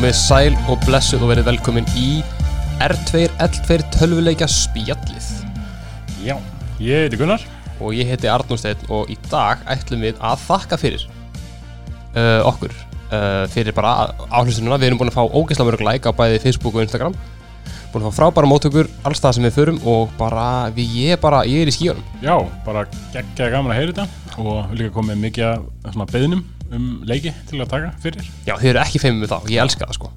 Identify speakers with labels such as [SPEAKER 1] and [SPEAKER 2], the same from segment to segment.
[SPEAKER 1] Verið sæl og blessuð og verið velkomin í R2L2 tölvuleikja spjallið
[SPEAKER 2] Já, ég heiti Gunnar
[SPEAKER 1] og ég heiti Arnúr Steinn og í dag ætlum við að þakka fyrir uh, okkur uh, fyrir bara áhlustununa, við erum búin að fá ógeðslega mörg like á bæði Facebook og Instagram búin að fá frábæra móttökur alls það sem við förum og bara, við, ég bara, ég er í skíunum
[SPEAKER 2] Já, bara geggjaði gaman að heyra þetta og líka komið mikið af svona beðnum um leiki til að taka fyrir
[SPEAKER 1] Já, þið eru ekki feimum við það og ég elska það sko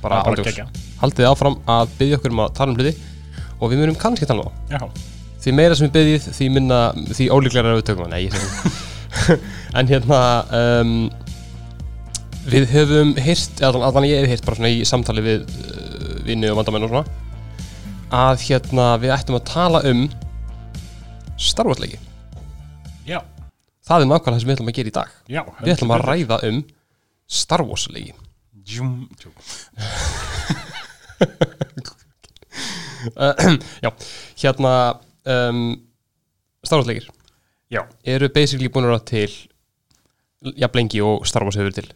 [SPEAKER 1] bara,
[SPEAKER 2] Já, bara
[SPEAKER 1] ándjóks.
[SPEAKER 2] geggjað.
[SPEAKER 1] Haldið áfram að byggja okkur um að tala um hluti og við munum kannski tala um það
[SPEAKER 2] Já,
[SPEAKER 1] því meira sem við byrjið, því minna því ólíklegra við tökum hann, nei, ég segi en hérna um, við höfum heyrt, allan, allan ég hef heyrt bara svona í samtali við uh, vinnu og vandamenn og svona að hérna við ættum að tala um starfvalleiki,
[SPEAKER 2] já,
[SPEAKER 1] það er nákvæmlega það sem við ætlum að gera í dag,
[SPEAKER 2] já
[SPEAKER 1] við ætlum að ræða um Star Wars leiki
[SPEAKER 2] Jum, tjú
[SPEAKER 1] uh, já, hérna um, Star Wars leikir
[SPEAKER 2] Já,
[SPEAKER 1] eru basically búin að vera til jafnlengi og Star Wars hefur verið til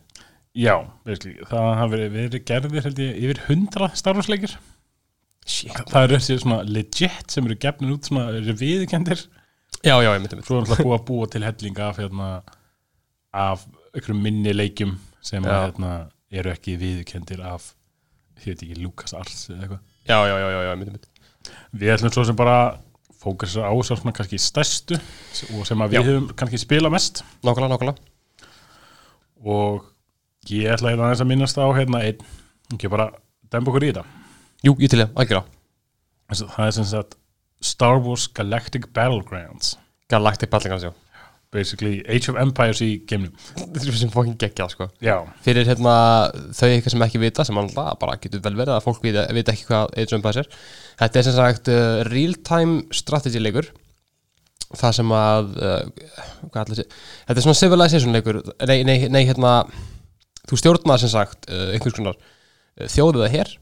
[SPEAKER 2] já, veistli, það hafa verið, verið gerðir held ég yfir hundra starfsleikir
[SPEAKER 1] Shit.
[SPEAKER 2] Það eru þessi svona legit sem eru gefnir út svona eru viðkendir
[SPEAKER 1] Já, já, ég myndi mig
[SPEAKER 2] Svo er alltaf búið að búa til hellinga af, hérna, af einhverjum minni leikjum sem
[SPEAKER 1] Já.
[SPEAKER 2] hérna, eru ekki viðkendir af, ég veit ekki, Lucas Arts eða eitthvað
[SPEAKER 1] Já, já, já, já, já, ég myndi mig
[SPEAKER 2] Við ætlum svo sem bara að fókusa á svo svona kannski stærstu og sem að við
[SPEAKER 1] Já.
[SPEAKER 2] höfum kannski spila mest
[SPEAKER 1] Nákvæmlega, nákvæmlega
[SPEAKER 2] og ég ætla hérna aðeins að minnast á hérna einn, ekki bara demba okkur í þetta.
[SPEAKER 1] Jú, ég til ég, algjörlega
[SPEAKER 2] Þessi- Það er sem sagt Star Wars Galactic Battlegrounds
[SPEAKER 1] Galactic Battlegrounds, já
[SPEAKER 2] basically Age of Empires í geimnum.
[SPEAKER 1] Þetta er sem fókin geggjað, sko
[SPEAKER 2] Já,
[SPEAKER 1] Fyrir hérna þau eitthvað sem ekki vita sem alltaf bara getur vel verið að fólk vita, vita ekki hvað Age of Empires er Þetta er sem sagt uh, real-time strategy leikur Það sem að uh, hvað allir sé Þetta er svona civilization leikur Nei, nei, nei hérna Þú stjórnar sem sagt uh, einhvers konar uh, þjóðið að hér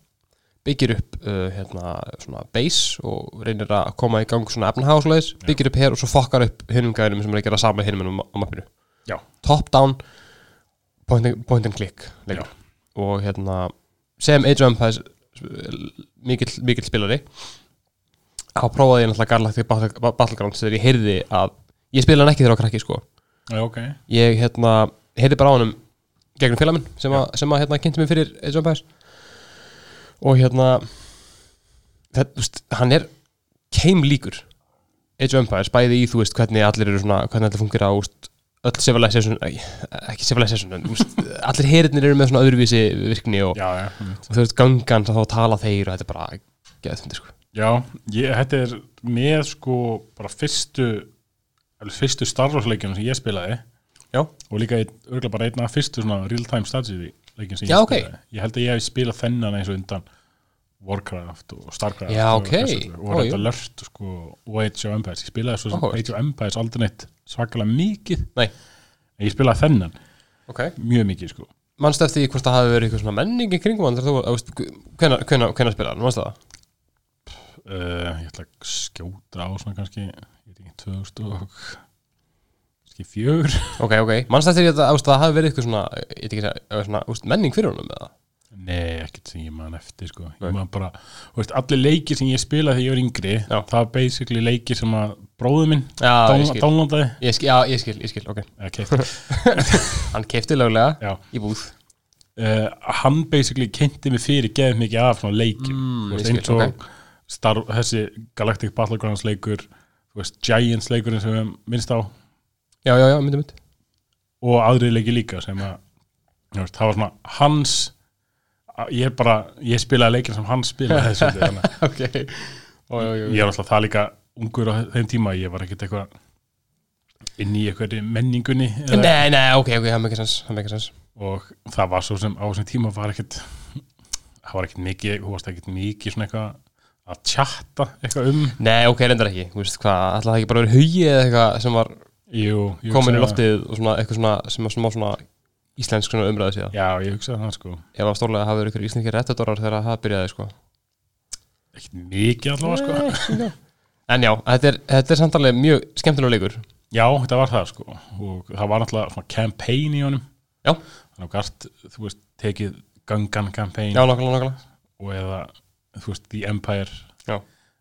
[SPEAKER 1] byggir upp uh, hérna, svona base og reynir að koma í gang svona efnahagsleis, byggir upp hér og svo fokkar upp hinum gæðinum sem er að gera sama hinum á á mappinu
[SPEAKER 2] já,
[SPEAKER 1] top down point and, point and click leikur. og hérna sem Age of Empires uh, mikill, mikill spilari þá prófaði ég náttúrulega Garlactic Battle- Ba- Battlegrounds þegar ég heyrði að ég spila hann ekki þegar á krakki sko
[SPEAKER 2] já, ok,
[SPEAKER 1] ég hérna heyrði bara á hann gegnum félagaminn sem, að- sem að hérna kynnti mig fyrir Age of Empires og hérna þetta, þú veist, hann er keimlíkur Age of Empires, bæði í þú veist hvernig allir eru svona, hvernig allir fungir á úst, öll civilization, ekki, ekki civilization en, úst, allir herinir eru með svona öðruvísi virkni og,
[SPEAKER 2] já, já, einmitt.
[SPEAKER 1] og þú veist gangan þá tala þeir og þetta er bara geðfundi sko.
[SPEAKER 2] já, ég, þetta er með sko bara fyrstu, alveg fyrstu Star Wars leikjum sem ég spilaði
[SPEAKER 1] Já,
[SPEAKER 2] og líka örgulega bara einn af fyrstu svona real-time strategy leikin sem
[SPEAKER 1] Já,
[SPEAKER 2] ég
[SPEAKER 1] ok.
[SPEAKER 2] spilaði ég held að ég hef spilað þennan eins og undan Warcraft og Starcraft
[SPEAKER 1] Já,
[SPEAKER 2] og
[SPEAKER 1] ok.
[SPEAKER 2] Warcraft og
[SPEAKER 1] Ó,
[SPEAKER 2] Red
[SPEAKER 1] jú.
[SPEAKER 2] Alert sko, og Age of Empires ég spilaði svo sem
[SPEAKER 1] Áhugavert.
[SPEAKER 2] Age of Empires aldrei neitt svakalega mikið
[SPEAKER 1] nei,
[SPEAKER 2] en ég spilaði þennan
[SPEAKER 1] ok
[SPEAKER 2] mjög mikið sko
[SPEAKER 1] Manstu eftir því hvort það hafi verið eitthvað svona menning í kringum hann þegar þú, þú veist, hvenær- hvenær hvenær spilaði hann, manstu það?
[SPEAKER 2] uh, ég ætla að skjóta á svona kannski ég veit ekki 2000 og kannski fjögur
[SPEAKER 1] Ok, ok, mannst eftir því að það, það hafi verið eitthvað svona, ég veit ekki að segja, svona úst, menning fyrir honum eða?
[SPEAKER 2] Nei, ekkert sem ég man eftir sko.
[SPEAKER 1] Nei.
[SPEAKER 2] Ég man bara, þú veist, allir leikir sem ég spilaði þegar ég var yngri,
[SPEAKER 1] Já.
[SPEAKER 2] það var basically leikir sem að bróðu minn
[SPEAKER 1] Já,
[SPEAKER 2] dán-
[SPEAKER 1] ég skil.
[SPEAKER 2] downloadaði
[SPEAKER 1] Ég skil, já, ég skil, ég skil, ok.
[SPEAKER 2] eða keypti.
[SPEAKER 1] Hann keipti löglega
[SPEAKER 2] Já.
[SPEAKER 1] í búð.
[SPEAKER 2] uh, hann basically kynnti mig fyrir geðið mikið af svona leikjum
[SPEAKER 1] Mm,
[SPEAKER 2] Þú veist,
[SPEAKER 1] ég skil,
[SPEAKER 2] eins og star, þessi Galactic Battlegrounds leikur þú veist, Giants leikurinn sem við höfum minnst á
[SPEAKER 1] Já, já, já, myndi, myndi.
[SPEAKER 2] og aðri leiki líka sem að þú veist, það var svona hans ég bara, ég spilaði leikir sem hann spilaði þessu, þannig að
[SPEAKER 1] ok, ó, já, já,
[SPEAKER 2] ég
[SPEAKER 1] já.
[SPEAKER 2] var alltaf það líka ungur á þeim tíma ég var ekkert eitthvað inn í eitthvað menningunni eða,
[SPEAKER 1] Nei, nei, ok, ok, það meikir sens, það meikir sens.
[SPEAKER 2] og það var svo sem á þessum tíma var ekkert það var ekkert mikið, þú varst ekkert mikið svona eitthvað að tjatta eitthvað um
[SPEAKER 1] Nei, ok, reyndar ekki, þú veist hvað, alltaf það ekki bara verið hugi eða eitthvað sem var
[SPEAKER 2] jú, ég
[SPEAKER 1] komin í
[SPEAKER 2] hugsa það.
[SPEAKER 1] loftið og svona, eitthvað svona, sem var smá svona íslensk svona umræðu síðan.
[SPEAKER 2] já, ég hugsaði það sko
[SPEAKER 1] Ef að stórlega hafi verið ykkur íslenskir rettadorar þegar það byrjaði, sko.
[SPEAKER 2] ekkert mikið allavega sko
[SPEAKER 1] En já, þetta er, þetta er samtalið mjög skemmtilega leikur.
[SPEAKER 2] já, þetta var það sko og það var alltaf svona campaign í honum
[SPEAKER 1] Já.
[SPEAKER 2] þannig að gart, þú veist, tekið Gungan Campaign
[SPEAKER 1] Já, nokkulega, nokkulega
[SPEAKER 2] og eða, þú veist, The Empire
[SPEAKER 1] Já.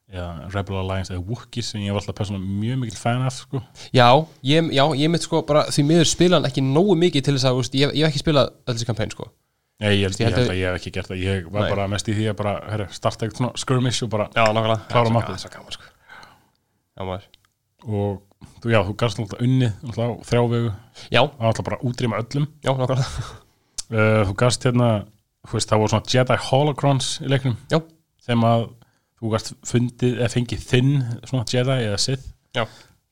[SPEAKER 2] eða Rebel Alliance eða Wookiees sem ég var alltaf persónum mjög mikill fan af sko.
[SPEAKER 1] Já, ég, já, ég mitt sko bara því miður spila hann ekki nógu mikið til þess að úst, ég, ég hef ekki spilað öll þessi kampæn sko
[SPEAKER 2] Nei, ég,
[SPEAKER 1] Ég
[SPEAKER 2] held, ég
[SPEAKER 1] held
[SPEAKER 2] held
[SPEAKER 1] að-
[SPEAKER 2] að ég hef ekki gert það ég var
[SPEAKER 1] Nei.
[SPEAKER 2] bara mest í því að bara, herri, starta eitthvað svona skirmish og bara
[SPEAKER 1] Já, nokkulega
[SPEAKER 2] Klára
[SPEAKER 1] Já, það
[SPEAKER 2] mappið.
[SPEAKER 1] er svo gaman sko Já, maður
[SPEAKER 2] og þú, já, þú gafst alltaf unnið alltaf á þrjávegu,
[SPEAKER 1] Já,
[SPEAKER 2] það var alltaf bara að útrýma öllum
[SPEAKER 1] já, nokkulega
[SPEAKER 2] uh, þú gafst hérna þú veist, það voru svona Jedi Holocrons í leiknum
[SPEAKER 1] Já.
[SPEAKER 2] sem að þú gafst fundið, eða fengið þinn svona Jedi eða Sith
[SPEAKER 1] Já.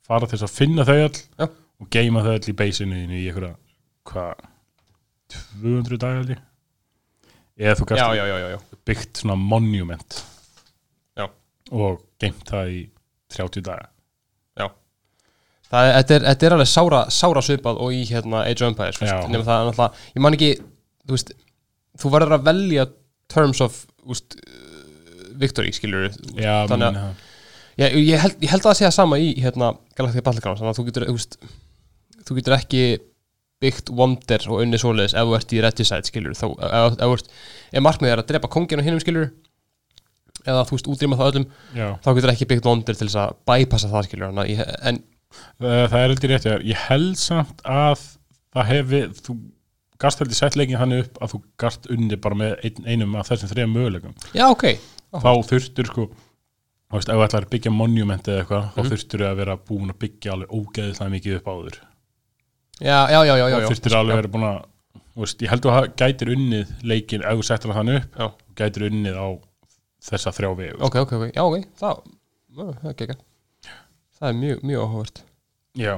[SPEAKER 2] fara til þess að finna þau öll
[SPEAKER 1] Já.
[SPEAKER 2] og geima þau öll í beisinu þínu í einhverja, hvað 200 dagar held ég eða
[SPEAKER 1] Já,
[SPEAKER 2] þú gafst
[SPEAKER 1] já, já, já, já
[SPEAKER 2] byggt svona monument
[SPEAKER 1] Já.
[SPEAKER 2] og geimt það í 30 daga
[SPEAKER 1] Það er, þetta er, þetta er alveg sára, sára svipað og í hérna Age of Empires
[SPEAKER 2] Já.
[SPEAKER 1] Nefnum það er náttúrulega, ég man ekki, þú veist Þú verður að velja terms of, úst, victory, skilur
[SPEAKER 2] já,
[SPEAKER 1] Þannig að-
[SPEAKER 2] meina það.
[SPEAKER 1] ég, ég, held, ég held að það sé það sama í hérna, Galactic Battlegrounds þannig að þú getur, þú, veist, þú getur ekki byggt Wonder og unni svoleiðis ef þú ert í Regicide skilur þá, ef, ef, þú ert, ef markmið er að drepa kongin og hinnum skilur eða þú veist útrýma það öllum
[SPEAKER 2] já.
[SPEAKER 1] þá getur ekki byggt Wonder til þess að bypassa það skilur hana, ég, en
[SPEAKER 2] Uh, það er heldur rétt hjá þér. ég held samt að það hefi þú gast heldur sett leikin þannig upp að þú gast unni bara með ein, einum af þessum þreja möguleikum
[SPEAKER 1] já ok,
[SPEAKER 2] þá þurftur sko þú veist, ef þú ætlar að byggja monument eða eitthvað
[SPEAKER 1] Mhm.
[SPEAKER 2] þá þurftur að vera búin að byggja alveg ógeðislega mikið upp áður
[SPEAKER 1] já já já já, já,
[SPEAKER 2] þá
[SPEAKER 1] já.
[SPEAKER 2] þurftur alveg að vera búin að þú veist, ég held þú ha- gætir unnið leikin ef þú settur hann þannig upp
[SPEAKER 1] Já.
[SPEAKER 2] gætir unnið á þessa þrjá vegu
[SPEAKER 1] ok ok ok, já ok það, ö, það, okay, það er mjög, mjög áhugavert
[SPEAKER 2] Já,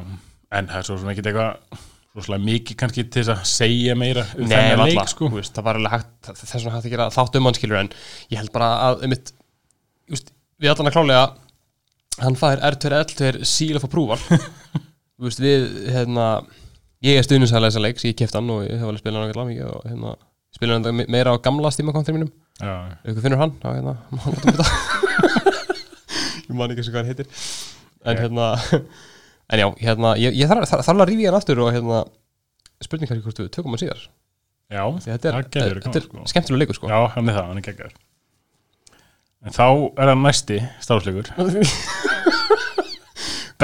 [SPEAKER 2] en það er svo sem ekki eitthvað rosalega mikið kannski til þess að segja meira um
[SPEAKER 1] Nei,
[SPEAKER 2] þennan
[SPEAKER 1] varla,
[SPEAKER 2] leik
[SPEAKER 1] sko.
[SPEAKER 2] sko.
[SPEAKER 1] veist, það var alveg hægt, þess vegna hægt að gera þátt um hann skilur en ég held bara að um mitt, veist, við allan að klálega hann fær R2L2 síl að fá prúval veist, við, hérna ég er stuðninsæðlega þessa leik, svo ég kefti hann og ég hef alveg spilað hann okkur mikið og hérna spilað hann þetta meira á gamla stímakontir mínum
[SPEAKER 2] Já,
[SPEAKER 1] ef ykkur finnur hann, þá hérna má hann láta mig þetta. ég man ekki sem hvað hann heitir en
[SPEAKER 2] Ok.
[SPEAKER 1] hérna en já, hérna, ég, ég þarf þar, þar að rífi hann aftur og hérna spurningar hvort við tökum hann síðar
[SPEAKER 2] já
[SPEAKER 1] Því þetta er,
[SPEAKER 2] það getur verið
[SPEAKER 1] þetta er
[SPEAKER 2] gaman, sko.
[SPEAKER 1] skemmtilega leikur sko
[SPEAKER 2] Já, hann er það, hann er geggar En þá er hann næsti starfsleikur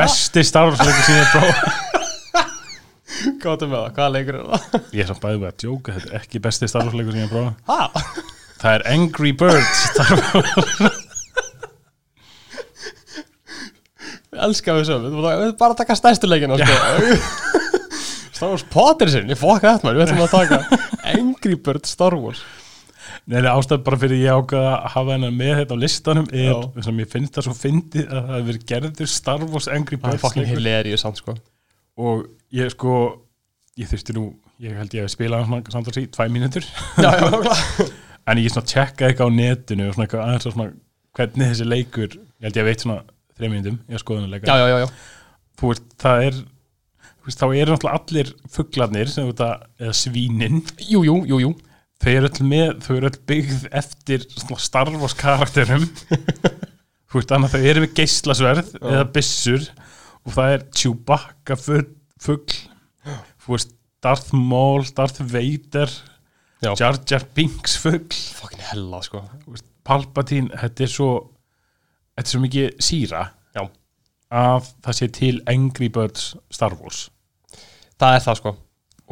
[SPEAKER 2] Besti starfsleikur sem ég próf
[SPEAKER 1] Gáttu með það, hvaða leikur er það?
[SPEAKER 2] Ég er samt bæðið við að djóka, þetta er ekki besti starfsleikur sem ég próf
[SPEAKER 1] Ha?
[SPEAKER 2] Það er Angry Birds starf-
[SPEAKER 1] Ég elska við sögum, við erum bara að taka stærstu leikina sko. Star Wars Potter sinn, ég fokka þetta maður, við ætlum að taka Angry Bird Star Wars
[SPEAKER 2] Nei, það ástæð bara fyrir ég ákveða að hafa hennar með þetta á listanum er,
[SPEAKER 1] Já.
[SPEAKER 2] sem ég finnst það svo fyndið að það hefur verið gerður Star Wars Angry
[SPEAKER 1] Það er
[SPEAKER 2] Birds
[SPEAKER 1] fokkin
[SPEAKER 2] leikur.
[SPEAKER 1] hilarious samt sko
[SPEAKER 2] og ég sko ég þurfti nú, ég held ég að spila hann svona samtals í tvæ mínútur
[SPEAKER 1] Já, já, klá
[SPEAKER 2] en ég svona tjekkaði eitthvað á netinu og svona eitthvað aðeins að svona hvernig þessi leikur ég held ég að veit svona þrejum mínútum ég að skoða hann
[SPEAKER 1] Já,
[SPEAKER 2] leika
[SPEAKER 1] já, já, já,
[SPEAKER 2] þú veist, það er þú veist, þá eru náttúrulega allir fuglarnir sem þú veist að, eða svínin
[SPEAKER 1] jú, jú, jú, jú
[SPEAKER 2] þau eru öll með, þau eru öll byggð eftir svona Star Wars karakterum þú veist, annað þau eru með geislasverð eða byssur og það er Chewbacca fu- fugl þú veist, Darth Maul Darth Vader
[SPEAKER 1] Já.
[SPEAKER 2] Jar Jar Binks fugl
[SPEAKER 1] Fokkin hella sko
[SPEAKER 2] þú veist, Palpatine, þetta er svo þetta er svo mikið síra
[SPEAKER 1] Já.
[SPEAKER 2] að það sé til Angry Birds Star Wars
[SPEAKER 1] Það er það sko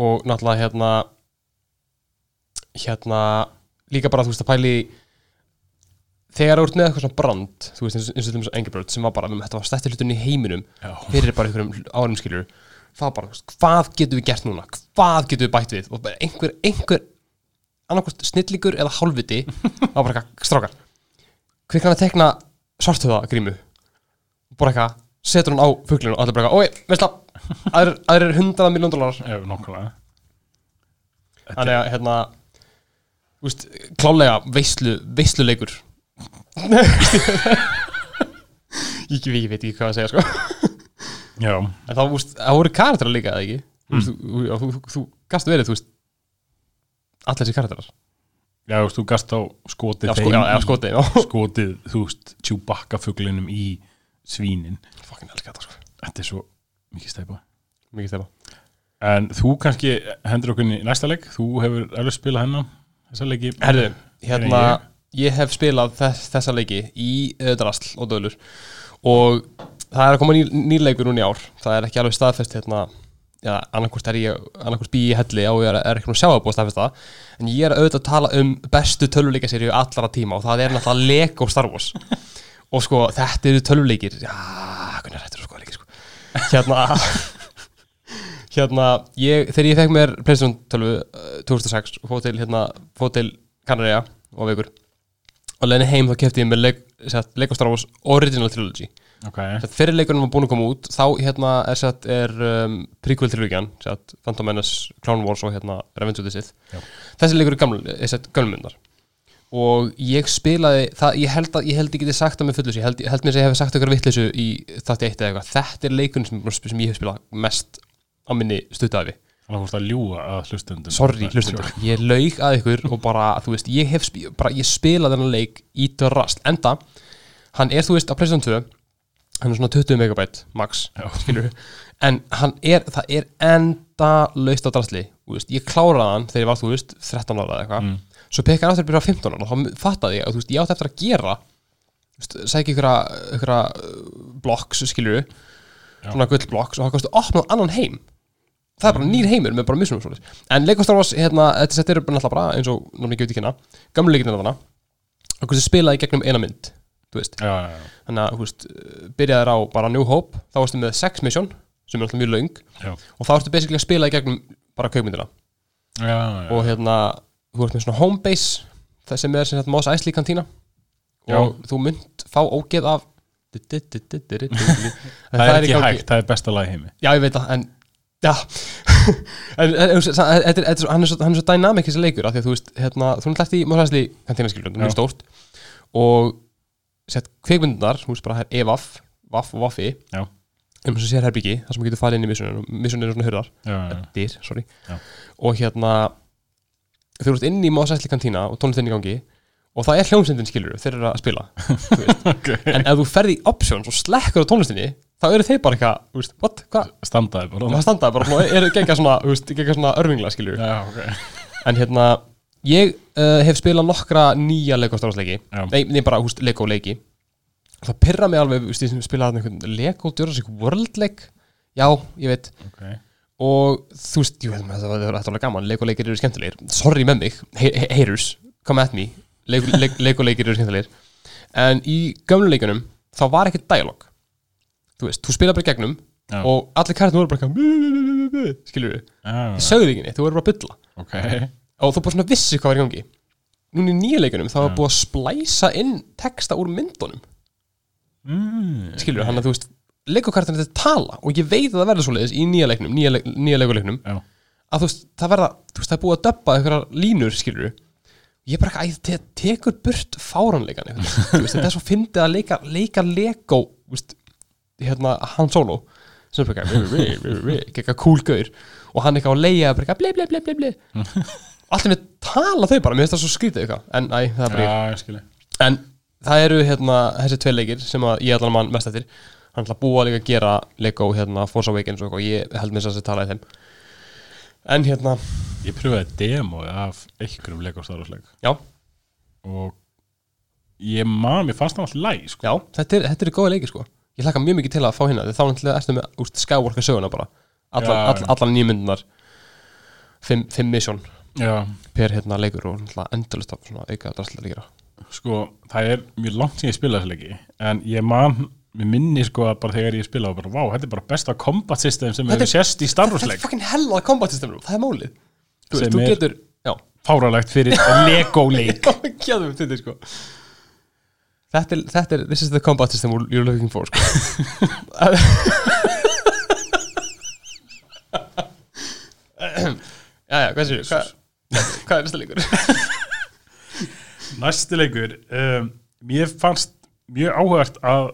[SPEAKER 1] Og náttúrulega hérna Hérna Líka bara þú veist að pæli í- Þegar þú ert með eitthvað svona brand Þú veist eins og- eins og til þess Angry Bird sem var bara Þetta var stætti hlutunni í heiminum
[SPEAKER 2] Já.
[SPEAKER 1] Fyrir bara einhverjum hl- árum skilur Það var bara, þú veist, hvað getum við gert núna? Hvað getum við bætt við? Og bara einhver, einhver annarkvist snillingur eða hálfviti Það var bara eitthvað strákar Hver kann að tekna svartöða grímu? Bara eitthvað, setur hún á fuglinu og allir bara eitthvað, oi, veist það aðrir- Aðrir hundraða miljón dólarar
[SPEAKER 2] ef nokkulega
[SPEAKER 1] Þannig að hérna úst, Klálega veislu, veisluleikur ég, ég, ég veit ekki hvað að segja sko
[SPEAKER 2] Já,
[SPEAKER 1] En þá, úst, það voru karakterar líka eða ekki mm. úst, þú, já, þú, þú, þú gast verið, þú veist Allir þessi karakterar
[SPEAKER 2] já, þú veist, þú gast á skotið
[SPEAKER 1] Já, sko, já, já, sko, já
[SPEAKER 2] skotið, þú veist, Chewbacca fuglinum í svínin
[SPEAKER 1] Fokkin elska þetta sko
[SPEAKER 2] þetta er svo mikið steipa
[SPEAKER 1] Mikið stefa
[SPEAKER 2] en þú kannski hendur okkur inn í næsta leik þú hefur alveg spilað hennan Þessa leiki
[SPEAKER 1] Herðu, hérna
[SPEAKER 2] Ég-
[SPEAKER 1] ég hef spilað þess, þessa leiki í uh, drasl og dölur og það er að koma ný, nýleikur núna í ár það er ekki alveg staðfest hérna Já, annarkvort er ég, annarkvort bý ég í helli á ég er, er ekki nú sjá að búa staðfesta en ég er auðvitað að tala um bestu tölvuleikaserju allra tíma og það er náttúrulega Lego Star Wars og sko þetta eru tölvuleikir já, hvernig er þetta eru sko leikir sko hérna hérna, ég, þegar ég fekk mér Playstation 12 uh, 2006 og fóð til, hérna, fóð til Kanaria og veikur og leiðinni heim þá kefti ég mér leik, sett, Lego Star Wars Original Trilogy
[SPEAKER 2] Ok,
[SPEAKER 1] sett, fyrir leikurinn var búin að koma út þá hérna er, sett, er um, prequel trilogjan sett, Phantom Menace, Clone Wars og hérna Revenge of the Sith
[SPEAKER 2] Já.
[SPEAKER 1] þessi leikur er gaml, er sett, gönnmyndar og ég spilaði það, ég held að ég held ég geti sagt það með fullu ég held, ég held mér að ég hef sagt eitthvað vitleysu í þátti eitt eða eitthvað þetta er leikurinn sem, sem ég hef spilað mest á minni stuttafi
[SPEAKER 2] þannig að fórst að ljúga að hlustundum
[SPEAKER 1] Sorry, hlustendur, ég laug að ykkur og bara, þú veist, ég hef spi bara, ég spilað þennan leik í drast enda, hann er, þú veist, á Playstation 2 hann er svona 20 megabæt max,
[SPEAKER 2] Já.
[SPEAKER 1] skilur en hann er, það er enda laust á drastli, þú veist, ég kláraði hann þegar ég var, þú veist, 13 ára eða eitthvað
[SPEAKER 2] Mm.
[SPEAKER 1] svo pekka hann aftur að byrja á 15 ára og þá fattaði ég að, þú veist, ég átti eftir að gera þú veist, sækja ykkur ykkur blokks, skilur
[SPEAKER 2] Já.
[SPEAKER 1] svona gullblokks og það kosti opnað annan heim það er bara nýr heimur með bara mismunum svolítið en Lego Star Wars, hérna, þetta settir upp náttúrulega bara eins og náttúrulega gefið ekki hérna, gamlu leikinn þarna og hversu spilaði í gegnum eina mynd þú veist,
[SPEAKER 2] Já, já, já,
[SPEAKER 1] þannig að, þú veist, byrjaði á bara New Hope, þá varstu með sex mission sem er alltaf mjög laung
[SPEAKER 2] já,
[SPEAKER 1] og þá ertu basically að spila í gegnum bara kaupmyndina
[SPEAKER 2] já, já, já.
[SPEAKER 1] og hérna, þú ert með svona home base það sem er sem sagt Mos Eisley kantína og þú mynd fá ógeð af
[SPEAKER 2] Það er ekki
[SPEAKER 1] í gangi.
[SPEAKER 2] hægt, það er besta lag í heimi
[SPEAKER 1] Já, ég veit það, en Já, en, en, en, en, en, en, en hann er svo, hann er svo dynamic þessi leikur af því að þú veist, hérna, þú náttúrulega ert í Mósæsli kantinaskilur, mjög
[SPEAKER 2] Já.
[SPEAKER 1] stórt og sett kveikmyndunar, þú veist bara það er EVAF, VAF og VAFI
[SPEAKER 2] Já.
[SPEAKER 1] um þessu sér herbyggi, þar sem þú getur farið inn í missunin og missunin er svona hurðar,
[SPEAKER 2] Já, já,
[SPEAKER 1] eða dyr, sorry
[SPEAKER 2] Já.
[SPEAKER 1] og hérna þau eru inn í Mósæsli kantina og tónlistinni í gangi og það er hljómsendin skilur þeir eru að spila
[SPEAKER 2] já. Okay.
[SPEAKER 1] en ef þú ferð í options og slekkur á tónlistinni þá eru þeir bara eitthvað, þú veist, what, hvað
[SPEAKER 2] Standaði bara
[SPEAKER 1] og það standaði bara og eru gegga svona, þú veist, gegga svona örvingla skiljur
[SPEAKER 2] Já, ok
[SPEAKER 1] en hérna, ég uh, hef spilað nokkra nýja Lego Star Wars leiki
[SPEAKER 2] Já.
[SPEAKER 1] nei, nei, bara, húst, Lego leiki það pyrra mig alveg, húst, ég spilaði þarna einhvern Lego Jurassic World leik já, ég veit,
[SPEAKER 2] okay.
[SPEAKER 1] og þú veist, jú, þetta var- þetta var þetta var alveg gaman Lego leikir eru skemmtilegir, sorry með mig hey- hey- haters, come at me Lego, Lego, Lego leikir eru skemmtilegir en í gömlu leikunum, þá var ekkert dialog þú veist, þú spila bara í gegnum
[SPEAKER 2] Já.
[SPEAKER 1] og allir kærtum voru bara eitthvað skilur við
[SPEAKER 2] Já,
[SPEAKER 1] Ég sögðu ekki neitt, þú verður bara að bylla
[SPEAKER 2] ok
[SPEAKER 1] og þú bara svona vissi hvað var í gangi núna í nýja leikunum þá var búið að splæsa inn texta úr myndunum
[SPEAKER 2] mm.
[SPEAKER 1] skilur hann að þú veist leikukartin þetta tala og ég veit að það verður svoleiðis í nýja leiknum, nýja, leik, nýja leikuleiknum
[SPEAKER 2] Já,
[SPEAKER 1] að þú veist, það verða, þú veist, það er búið að döbba einhverjar línur, skilur ég er bara ekki, æ, þetta tekur burt fáranleikan einhvern veginn. þú veist, þetta er svo fyndið að leika leika Lego, þú veist hérna, Han Solo sem er bara eitthvað, eitthvað kúlgauður og hann eitthvað á leiða, bara eitthvað, ble, ble, ble, ble, ble allt með tala þau bara, mér finnst það svo skrítið eitthvað, en æ, það er bara
[SPEAKER 2] já, ég skilji
[SPEAKER 1] ég en það eru, hérna, þessi tvei leikir sem að ég allan mann mest eftir hann ætla að búa líka að gera Lego, hérna, Force Awakens og eitthvað, ég held mér þess að tala í þeim en hérna,
[SPEAKER 2] Ég pröfaði demóið af einhverjum leikastarfsleik
[SPEAKER 1] Já,
[SPEAKER 2] og ég man, mér fannst það alltaf læg sko.
[SPEAKER 1] já, þetta er, þetta er góða leiki sko Ég hlakka mjög mikið til að fá hérna því Þá náttúrulega ertu með úst, skywalker söguna bara Allar,
[SPEAKER 2] Já,
[SPEAKER 1] all,
[SPEAKER 2] já.
[SPEAKER 1] allar nýmyndunar fimm, fimm mission
[SPEAKER 2] Já,
[SPEAKER 1] per hérna leikur og náttúrulega endalist af svona auka drastlega leikir
[SPEAKER 2] sko, það er mjög langt sem ég spilaði þessu leiki en ég man, mér minni sko að bara þegar ég spilaði bara, vá, þetta er bara besta combat system sem
[SPEAKER 1] Þetta
[SPEAKER 2] hefur
[SPEAKER 1] er-
[SPEAKER 2] sérst
[SPEAKER 1] Þetta
[SPEAKER 2] í
[SPEAKER 1] er
[SPEAKER 2] starfsleik
[SPEAKER 1] fucking hella combat system, það er málið Þú
[SPEAKER 2] Sem
[SPEAKER 1] veist, þú
[SPEAKER 2] er-
[SPEAKER 1] getur, já
[SPEAKER 2] fáralegt fyrir Lego leik
[SPEAKER 1] Gjáðum þetta sko Þetta er, þetta er, this is the combat system you're looking for sko Jæja, hvað séu, hvað, hvað er næsta leikur?
[SPEAKER 2] Næsti leikur, um, mér fannst mjög áhugart að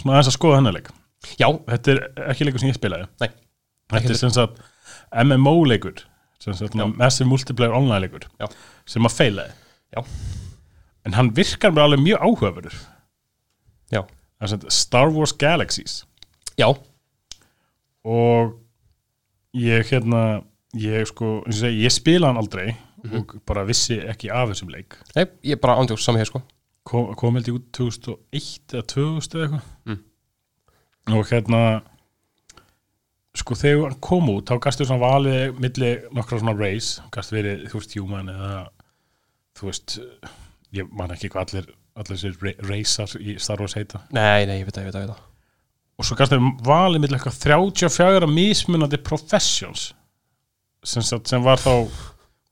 [SPEAKER 2] svona aðeins að skoða hennar leik
[SPEAKER 1] Já,
[SPEAKER 2] þetta er ekki leikur sem ég spilaði
[SPEAKER 1] nei,
[SPEAKER 2] Þetta er sem sagt MMO-leikur sem sagt svona Massive Multiplayer Online-leikur
[SPEAKER 1] Já.
[SPEAKER 2] sem að feilaði
[SPEAKER 1] Já.
[SPEAKER 2] En hann virkar mér alveg mjög áhugaverður
[SPEAKER 1] já
[SPEAKER 2] Það er sem sagt Star Wars Galaxies
[SPEAKER 1] Já,
[SPEAKER 2] og ég hérna ég sko, eins og ég segi, ég spila hann aldrei
[SPEAKER 1] Mhm.
[SPEAKER 2] og bara vissi ekki af þessum leik
[SPEAKER 1] Nei, ég er bara ándjóks saman hér sko
[SPEAKER 2] kom, kom held ég út 2001 eða 2000 eða eitthvað
[SPEAKER 1] Mm.
[SPEAKER 2] og hérna sko þegar hann kom út þá gastu svona valið milli nokkra svona race, gastu verið þú veist human eða þú veist, ég man ekki hvað allir allir þessir reysar í Star Wars heita
[SPEAKER 1] Nei, nei, ég veit það, ég veit það, ég veit það
[SPEAKER 2] og svo gastu valið milli eitthvað 34 mismunandi professions sem, sagt- sem var þá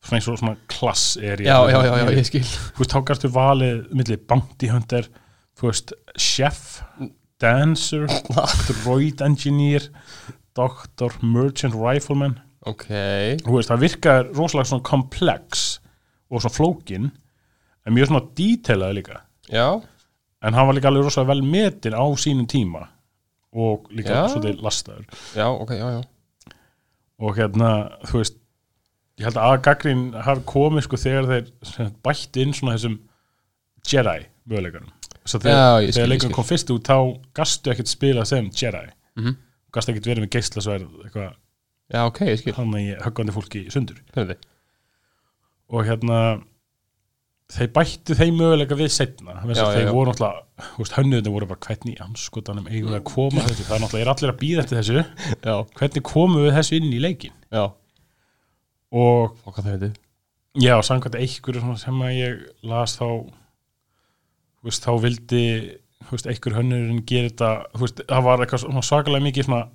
[SPEAKER 2] svona eins og svona klass er
[SPEAKER 1] Já, já, já, já, ég skil
[SPEAKER 2] þú veist, þá gæstu valið millir bounty hunter, þú veist chef, dancer droid engineer doctor, merchant rifleman
[SPEAKER 1] Ok,
[SPEAKER 2] þú veist, það virkar rosalega svona komplex og svona flókin en mjög svona detailað líka
[SPEAKER 1] já,
[SPEAKER 2] en hann var líka alveg rosalega vel metin á sínum tíma og líka
[SPEAKER 1] Já.
[SPEAKER 2] svolítið lastaður
[SPEAKER 1] já, ok, já, já
[SPEAKER 2] og hérna, þú veist ég held að gaggrín hafi komið sko þegar þeir sem sagt bætt inn svona þessum Jedi möguleikanum svo
[SPEAKER 1] Já, ég
[SPEAKER 2] þegar,
[SPEAKER 1] skil,
[SPEAKER 2] þegar
[SPEAKER 1] ég
[SPEAKER 2] leikunum
[SPEAKER 1] skil.
[SPEAKER 2] kom fyrst út þá gastu ekkert spila sem Jedi mm
[SPEAKER 1] Mhm.
[SPEAKER 2] gastu ekkert verið með geislasverð eitthvað
[SPEAKER 1] Já, ok, ég skil,
[SPEAKER 2] hann í höggandi fólki í sundur
[SPEAKER 1] hvernig þið
[SPEAKER 2] og hérna þeir bættu þeim möguleika við setna þess
[SPEAKER 1] Já,
[SPEAKER 2] að
[SPEAKER 1] já,
[SPEAKER 2] þeir
[SPEAKER 1] já.
[SPEAKER 2] voru náttúrulega, þú veist, hönnuðinu voru bara hvernig í anskotanum eigum við að koma þessu, það er náttúrulega er allir að býða eftir þessu
[SPEAKER 1] Já,
[SPEAKER 2] hvernig komum við þessu inn í leikin
[SPEAKER 1] já,
[SPEAKER 2] og
[SPEAKER 1] fokka það veitir
[SPEAKER 2] Já, samkvæmt einhverju svona sem að ég las þá þú veist, þá vildi þú veist, einhver hönnurinn gera þetta þú veist, það var eitthvað svona svakalega mikið svona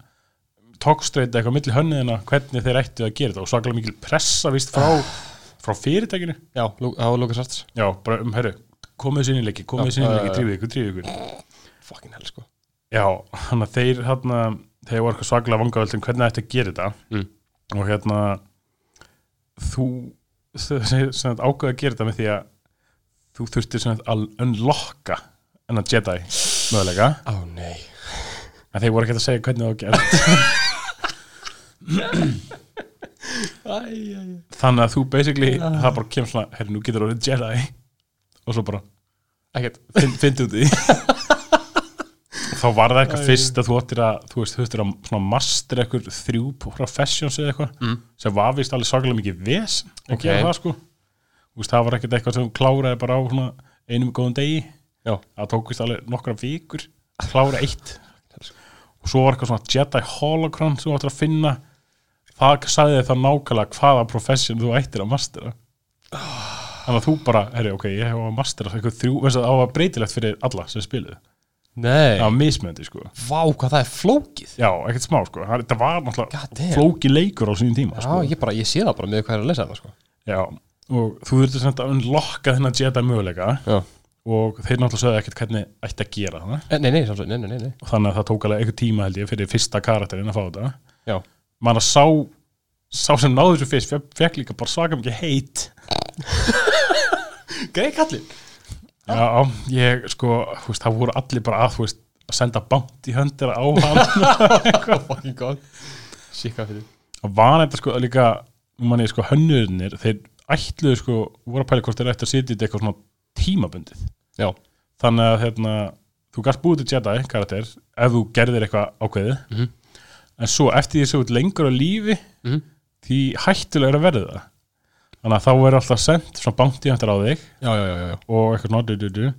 [SPEAKER 2] tókstreita eitthvað á milli hönnuðina hvernig þeir ættu að gera þetta og svakalega mikil pressa víst frá, frá fyrirtækinu
[SPEAKER 1] Já, Lú- það var Lucas Arts
[SPEAKER 2] Já, bara um, herru, komið sinni leiki komið
[SPEAKER 1] Já,
[SPEAKER 2] sinni
[SPEAKER 1] já,
[SPEAKER 2] leiki,
[SPEAKER 1] já.
[SPEAKER 2] drífið ykkur, drífið ykkur
[SPEAKER 1] Fucking hell, sko
[SPEAKER 2] Já, þannig að þeir hérna, þeir voru eitthvað svaklega vangavöldum hvernig þetta gera þetta
[SPEAKER 1] Mm.
[SPEAKER 2] og hérna þú sem ágæði að gera þetta með því að þú þurftir sem sagt að unlocka enna Jedi möguleika
[SPEAKER 1] Á, nei
[SPEAKER 2] en þeir voru ekkert að segja hvernig það var gert
[SPEAKER 1] Æ, æ, æ
[SPEAKER 2] þannig að þú basically, það bara kemur svona herri, nú getur orðið Jedi og svo bara
[SPEAKER 1] Ekkert
[SPEAKER 2] fyndi út í því. þá var það eitthvað fyrst að þú ættir að þú veist, þú ættir að svona master eitthvað þrjú professions eða eitthvað mm. sem var vist alveg svakalega mikið ves að
[SPEAKER 1] Ok.
[SPEAKER 2] gera það sko þú veist, það var ekkert eitthvað sem kláraði bara á svona einum góðum degi
[SPEAKER 1] Já,
[SPEAKER 2] það tók vist alveg nokkra vikur að klára eitt og svo var eitthvað svona Jedi Holocron sem þú ættir að finna það sagði þér þá nákvæmlega hvaða profession þú ættir að mastera þannig að þú bara, herri, ok, ég hef að mastera eitthvað þrjú, veist að það var breytilegt fyrir alla sem spiluðu,
[SPEAKER 1] nei
[SPEAKER 2] það var mismöndi sko
[SPEAKER 1] Vá, hvað það er flókið
[SPEAKER 2] já, ekkert smá sko, það þetta var
[SPEAKER 1] God damn.
[SPEAKER 2] náttúrulega flóki leikur á sínum tíma
[SPEAKER 1] Já,
[SPEAKER 2] sko.
[SPEAKER 1] ég bara, ég sé það bara með hvað er að lesa það, sko
[SPEAKER 2] já, og þú þurftir sem þetta að unlocka þennan Jedi möguleika
[SPEAKER 1] Já
[SPEAKER 2] og þeir náttúrulega sögðu ekkert hvernig ætti að gera það
[SPEAKER 1] Eh, Nei, nei, samsveg, nei, nei, nei, nei
[SPEAKER 2] og þannig að það tók alveg einhver tíma held ég fyrir fyrsta karakterinn að fá þetta
[SPEAKER 1] Já,
[SPEAKER 2] maður að sá sá sem náður þessu fyrst fekk- fekk líka bara svaka mikið heit
[SPEAKER 1] greið kallinn
[SPEAKER 2] já, ég sko þú veist, það voru allir bara að, þú veist, að senda bánt í höndera á hann
[SPEAKER 1] Oh Fucking god Sikka fyrir
[SPEAKER 2] og var þetta sko líka manni, sko, hönnurinnir, þeir ætluðu sko, voru að pæla hvort þeir ættu að sitja í þetta eitthvað svona tímabundið
[SPEAKER 1] Já,
[SPEAKER 2] þannig að hérna, þú gast búið til Jedi karakter ef þú gerðir eitthvað ákveðið
[SPEAKER 1] Mhm.
[SPEAKER 2] en svo eftir því sem þú ert lengur á lífi
[SPEAKER 1] Mhm.
[SPEAKER 2] því hættulegur að verða það þannig að þá er alltaf sendt svona bounty hunter á þig
[SPEAKER 1] já, já, já, já, já.
[SPEAKER 2] og eitthvað svona du, du, du.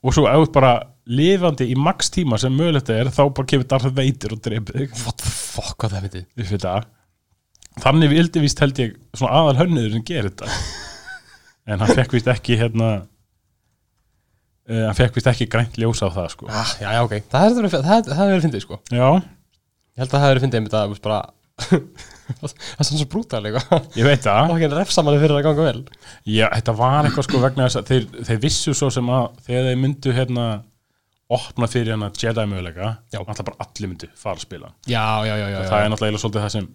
[SPEAKER 2] og svo ef þú ert bara lifandi í max tíma sem mögulegt er þá bara kemur Darth Vader og dreipið þig
[SPEAKER 1] What the fuck, hvað það er myndið
[SPEAKER 2] við fyrir það þannig vildi víst held ég svona aðal hönnuður sem gerir þetta en hann fekk víst ekki hérna uh, hann fekk víst ekki grænt ljós á það sko
[SPEAKER 1] ah, Já, já, ok Það er verið, það, það er verið fyndið, sko
[SPEAKER 2] já,
[SPEAKER 1] Ég held að það er verið fyndið einmitt að, þú veist, bara Það er svona svo brútal, eitthvað
[SPEAKER 2] ég veit það
[SPEAKER 1] Fucking refsamanni fyrir að ganga vel
[SPEAKER 2] já, þetta var eitthvað sko vegna þess að þeir, þeir vissu svo sem að þegar þeir myndu hérna opna fyrir hérna Jedi möguleika
[SPEAKER 1] Já.
[SPEAKER 2] alltaf bara allir myndu fara að spila
[SPEAKER 1] Já, já, já, já,
[SPEAKER 2] það er náttúrulega eiginlega svolítið það sem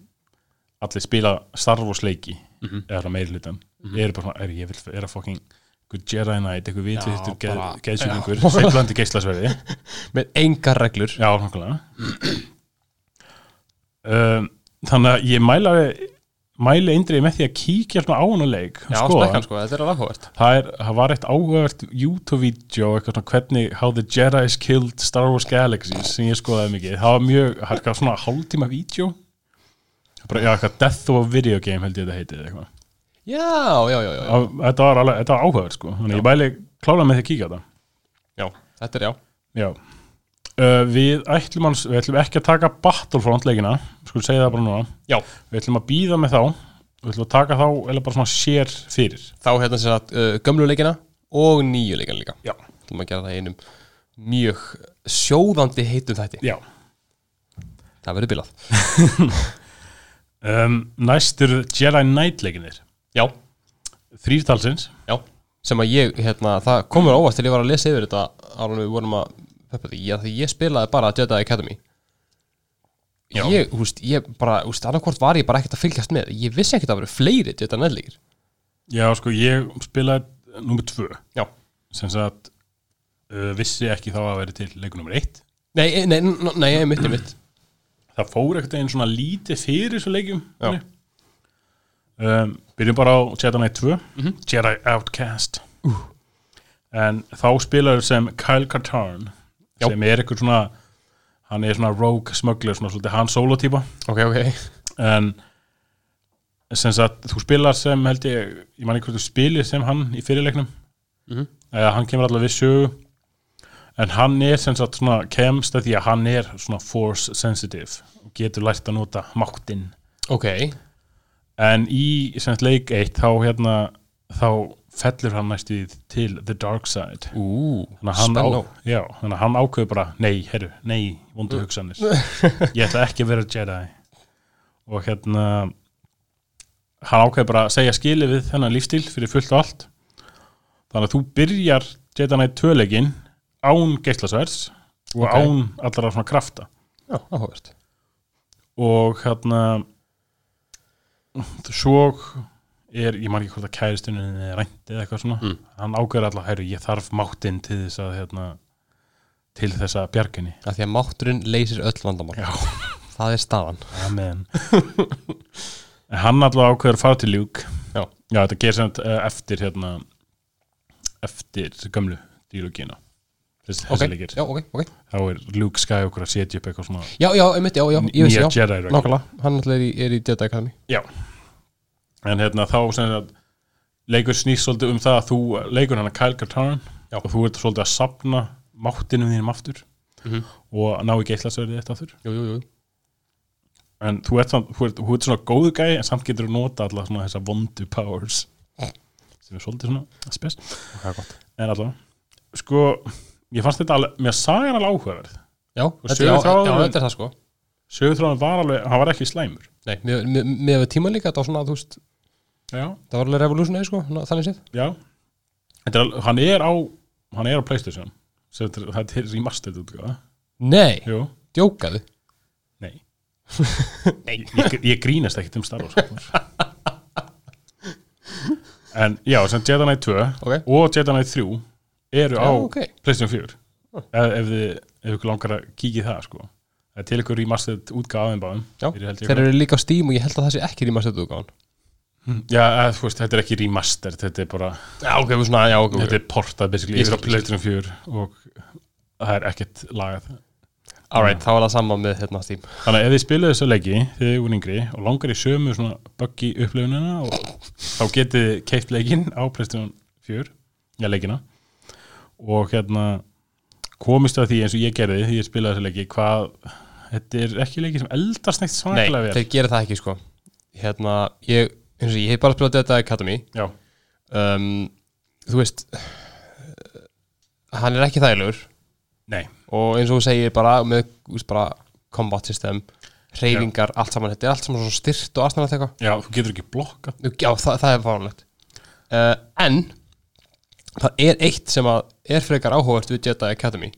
[SPEAKER 2] allir spila Star Wars leiki
[SPEAKER 1] Mhm.
[SPEAKER 2] eða svona meiri hlutan eru bara svona, er, ég vil, er að fucking einhver Jedi Knight, einhver vitvitur
[SPEAKER 1] bara-
[SPEAKER 2] geðsjúlingur,
[SPEAKER 1] Já.
[SPEAKER 2] seiflandi geislasverði
[SPEAKER 1] Með engar reglur
[SPEAKER 2] já, nákvæmlega um, þannig að ég mæla mæli eindriði með því að kíkja svona á hana leik
[SPEAKER 1] Já,
[SPEAKER 2] skoða
[SPEAKER 1] smekkan, sko, þetta er alveg áhugavert
[SPEAKER 2] það, er, það var eitt áhugavert YouTube-vídeó eitthvað svona hvernig How the Jedi's Killed Star Wars Galaxies sem ég skoðaði mikið, það var mjög það er eitthvað svona hálftíma vídeo bara, já, eitthvað Death of a Video Game held ég þetta heitið eitthvað
[SPEAKER 1] Já, já, já, já, já.
[SPEAKER 2] Á- þetta var, alveg- þetta var áhugaður sko þannig ég bæli klála með því að kíka á það
[SPEAKER 1] já Þetta er já
[SPEAKER 2] já uh, við, ætlum hans, við ætlum ekki að taka Battlefront leikina skulum segja það bara núna
[SPEAKER 1] Já,
[SPEAKER 2] við ætlum að býða með þá við ætlum að taka þá eða bara svona sér fyrir
[SPEAKER 1] þá hérna sér að uh, gömlu leikina og nýju leikina líka
[SPEAKER 2] já,
[SPEAKER 1] Þú maður að gera það í einum mjög sjóðandi heitum þætti
[SPEAKER 2] já.
[SPEAKER 1] Það verður bilað
[SPEAKER 2] Um, næst eru Jedi Knight leikinir
[SPEAKER 1] Já,
[SPEAKER 2] þrýrtalsins
[SPEAKER 1] já Sem að ég, hérna, það komur óvast til ég var að lesa yfir þetta ára við vorum að peppa því Já, því ég spilaði bara Jedi Academy
[SPEAKER 2] Já.
[SPEAKER 1] Ég, húst, ég bara, húst, annarkvort var ég bara ekkert að fylgjast með Ég vissi ekkert að það verið fleiri Jedi Nærleikir
[SPEAKER 2] já sko ég spilaði nummer tvö
[SPEAKER 1] Já
[SPEAKER 2] sem sagt uh, vissi ekki þá að veri til leikur nummer eitt
[SPEAKER 1] Nei, eh, nei, n- n- nei, mitt, mitt
[SPEAKER 2] það fór ekkert einn svona lítið fyrir þessu leikjum
[SPEAKER 1] Já.
[SPEAKER 2] þannig. um, byrjum bara á Jedi Knight 2
[SPEAKER 1] Mhm.
[SPEAKER 2] Jedi Outcast en þá spilar sem Kyle Katarn
[SPEAKER 1] Já.
[SPEAKER 2] sem er eitthvað svona hann er svona rogue smuggler svona svolítið hann solo típa
[SPEAKER 1] Ok, ok
[SPEAKER 2] en sem sagt þú spilar sem held ég ég man ekki hvort þú spilir sem hann í fyrirleiknum
[SPEAKER 1] Mhm.
[SPEAKER 2] eða hann kemur allavega við sögu en hann er sem sagt svona kemst að því að hann er svona force sensitive og getur lært að nota máttinn
[SPEAKER 1] Ok,
[SPEAKER 2] en í sem sagt leik 1 þá hérna þá fellur hann næstu í til the dark side
[SPEAKER 1] ú,
[SPEAKER 2] þannig að hann, á, já, þannig að hann ákveður bara nei, herru, nei, vondu hugsanir ég ætla ekki að vera Jedi og hérna hann ákveður bara að segja skili við þennan lífstíl fyrir fullt og allt þannig að þú byrjar Jedi Knight 2 leikinn án geislasverðs og
[SPEAKER 1] Ok.
[SPEAKER 2] án allra svona krafta
[SPEAKER 1] Já, áhugavert
[SPEAKER 2] og hérna svo er, ég man ekki hvort að kæristunni er rænt eða eitthvað svona
[SPEAKER 1] Mm.
[SPEAKER 2] hann ákveður alltaf, herru, ég þarf máttinn til þess að hérna, til þess að bjarginni
[SPEAKER 1] Af því að mátturinn leysir öll vandamál
[SPEAKER 2] Já.
[SPEAKER 1] Það er staðan
[SPEAKER 2] amen en hann alltaf ákveður að fara til ljúk
[SPEAKER 1] Já.
[SPEAKER 2] þetta gerir sem sagt, eh, eftir hérna, eftir gömlu dílugina þess,
[SPEAKER 1] Ok,
[SPEAKER 2] þessi leikir,
[SPEAKER 1] já, ok, ok
[SPEAKER 2] þá er Luke Skywalker að setja upp eitthvað svona
[SPEAKER 1] Já, já, einmitt, já, já, ég vissi,
[SPEAKER 2] nýja
[SPEAKER 1] já
[SPEAKER 2] Jedi reglu.
[SPEAKER 1] Nákvæmlega, hann náttúrulega er í, er í Jedi Academy
[SPEAKER 2] Já En hérna þá sem sagt, leikur snýst svolítið um það að þú leikur hann að Kyle Katarn
[SPEAKER 1] Já.
[SPEAKER 2] og þú ert svolítið að sapna máttinum þínum aftur
[SPEAKER 1] Mhm.
[SPEAKER 2] og að ná í geislasverðið þetta aftur
[SPEAKER 1] Jú, jú, jú
[SPEAKER 2] en þú ert, samt, þú, ert, þú ert svona góðu gæi en samt getur þú nota alltaf svona þessa vondu powers sem er svolítið svona spes
[SPEAKER 1] Það er gott
[SPEAKER 2] en allavega sko, ég fannst þetta alveg, mér sagan alveg áhugaverð
[SPEAKER 1] Já, þetta, já,
[SPEAKER 2] söguþráðurinn-
[SPEAKER 1] já, þetta er það sko
[SPEAKER 2] sögurþráðan var alveg, hann var ekki slæmur
[SPEAKER 1] Nei, mér- mér mér hefur tíma líka, þetta var svona, þú veist
[SPEAKER 2] Já,
[SPEAKER 1] Það var alveg revolutionary, sko, ná- þannig séð
[SPEAKER 2] já Þetta er, al- hann er á hann er á Playstation Sem þetta er- þetta er remastered útgáfa
[SPEAKER 1] Nei,
[SPEAKER 2] Jú,
[SPEAKER 1] djókaðu
[SPEAKER 2] nei Nei, ég, ég grínast ekkert um Star Wars sko. En já, sem Jedi Knight 2
[SPEAKER 1] Ok.
[SPEAKER 2] og Jedi Knight 3 eru
[SPEAKER 1] Já,
[SPEAKER 2] á
[SPEAKER 1] ok
[SPEAKER 2] Playstation 4 ef, ef þið ef ykkur langar að kíkja í það sko. það er til ykkur remastered útgáfa af þeim báðum
[SPEAKER 1] Já,
[SPEAKER 2] Þeir eru held ég
[SPEAKER 1] þeir eru líka á Steam og ég held að það sé ekki rýma stöðu gáðan
[SPEAKER 2] Mm. Já, eða, þú veist, þetta er ekki remastered þetta er bara,
[SPEAKER 1] Já, ok, svona, já, ok,
[SPEAKER 2] þetta er portað basically
[SPEAKER 1] Ég
[SPEAKER 2] yfir á
[SPEAKER 1] skil.
[SPEAKER 2] Playstation 4 og það er ekkert lagað
[SPEAKER 1] Alright, þá er það sama með, hérna, Steam
[SPEAKER 2] Þannig að ef þið spilaðu þessu leiki þegar þið voru yngri og langar í sömu svona buggy upplifunina og þá getið þið keift leikinn á Playstation 4 já leikina og hérna komist að því eins og ég gerði því ég spilaði þessu leiki hvað þetta er ekki leiki sem eldast neitt
[SPEAKER 1] Nei,
[SPEAKER 2] svaklega vel
[SPEAKER 1] þeir gera það ekki, sko Hérna, ég, eins og ég hef bara spilað Jedi Academy
[SPEAKER 2] Já,
[SPEAKER 1] um, þú veist uh, hann er ekki þægilegur
[SPEAKER 2] nei,
[SPEAKER 1] og eins og þú segir bara með þú veist, bara combat system hreyfingar, allt saman, þetta er allt saman svo styrt og aðstæðan eitthvað,
[SPEAKER 2] já, þú getur ekki blokkað
[SPEAKER 1] Nú, já, það, það er fáránlegt uh, en það er eitt sem að er frekar áhugavert við Jedi Academy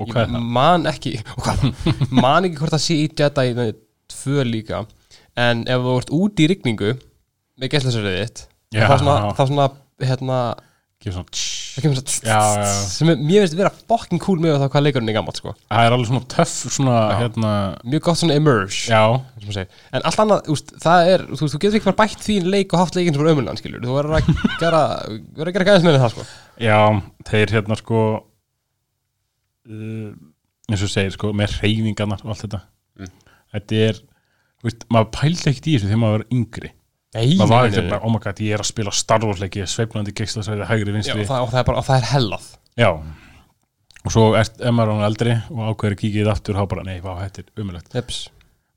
[SPEAKER 2] og hvað er
[SPEAKER 1] ég
[SPEAKER 2] það?
[SPEAKER 1] man ekki og hvað, man ekki hvort það sé í Jedi nei, tvö líka en ef þú ert út í rigningu með gæstlæsverðið þitt
[SPEAKER 2] Já.
[SPEAKER 1] þá svona, þá svona hérna,
[SPEAKER 2] Gefur svona tss.
[SPEAKER 1] Það kemur svona
[SPEAKER 2] Já, já, já.
[SPEAKER 1] sem er, mér finnst vera fucking cool með það hvað leikurinn er gammalt sko.
[SPEAKER 2] Það er alveg svona töff svona hérna
[SPEAKER 1] mjög gott svona emerge
[SPEAKER 2] Já,
[SPEAKER 1] sem maður segir. en allt annað, úst, það er þú, veist, þú getur ekki bara bætt þín leik og haft leikinn sem er ömulegan skilur, þú verður að gera verður að gera gæðis með það sko.
[SPEAKER 2] Já, þeir hérna sko uh, eins og segir sko með
[SPEAKER 1] Mm.
[SPEAKER 2] reyfingarnar og allt þetta þetta er, þú veist, maður pældi ekkert í þessu þegar maður var yngri
[SPEAKER 1] Nei,
[SPEAKER 2] maður var ekkert
[SPEAKER 1] nei, nei.
[SPEAKER 2] bara, oh my god, ég er að spila Star Wars leiki, sveiflandi geislasverði, hægri
[SPEAKER 1] Já, og,
[SPEAKER 2] vinstri
[SPEAKER 1] það, og, það er bara, og það er hellað
[SPEAKER 2] Já og svo er, er maður hann eldri og ákveður að kíkja í það aftur og þá bara, nei, vá, þetta er umulegt
[SPEAKER 1] Jeps.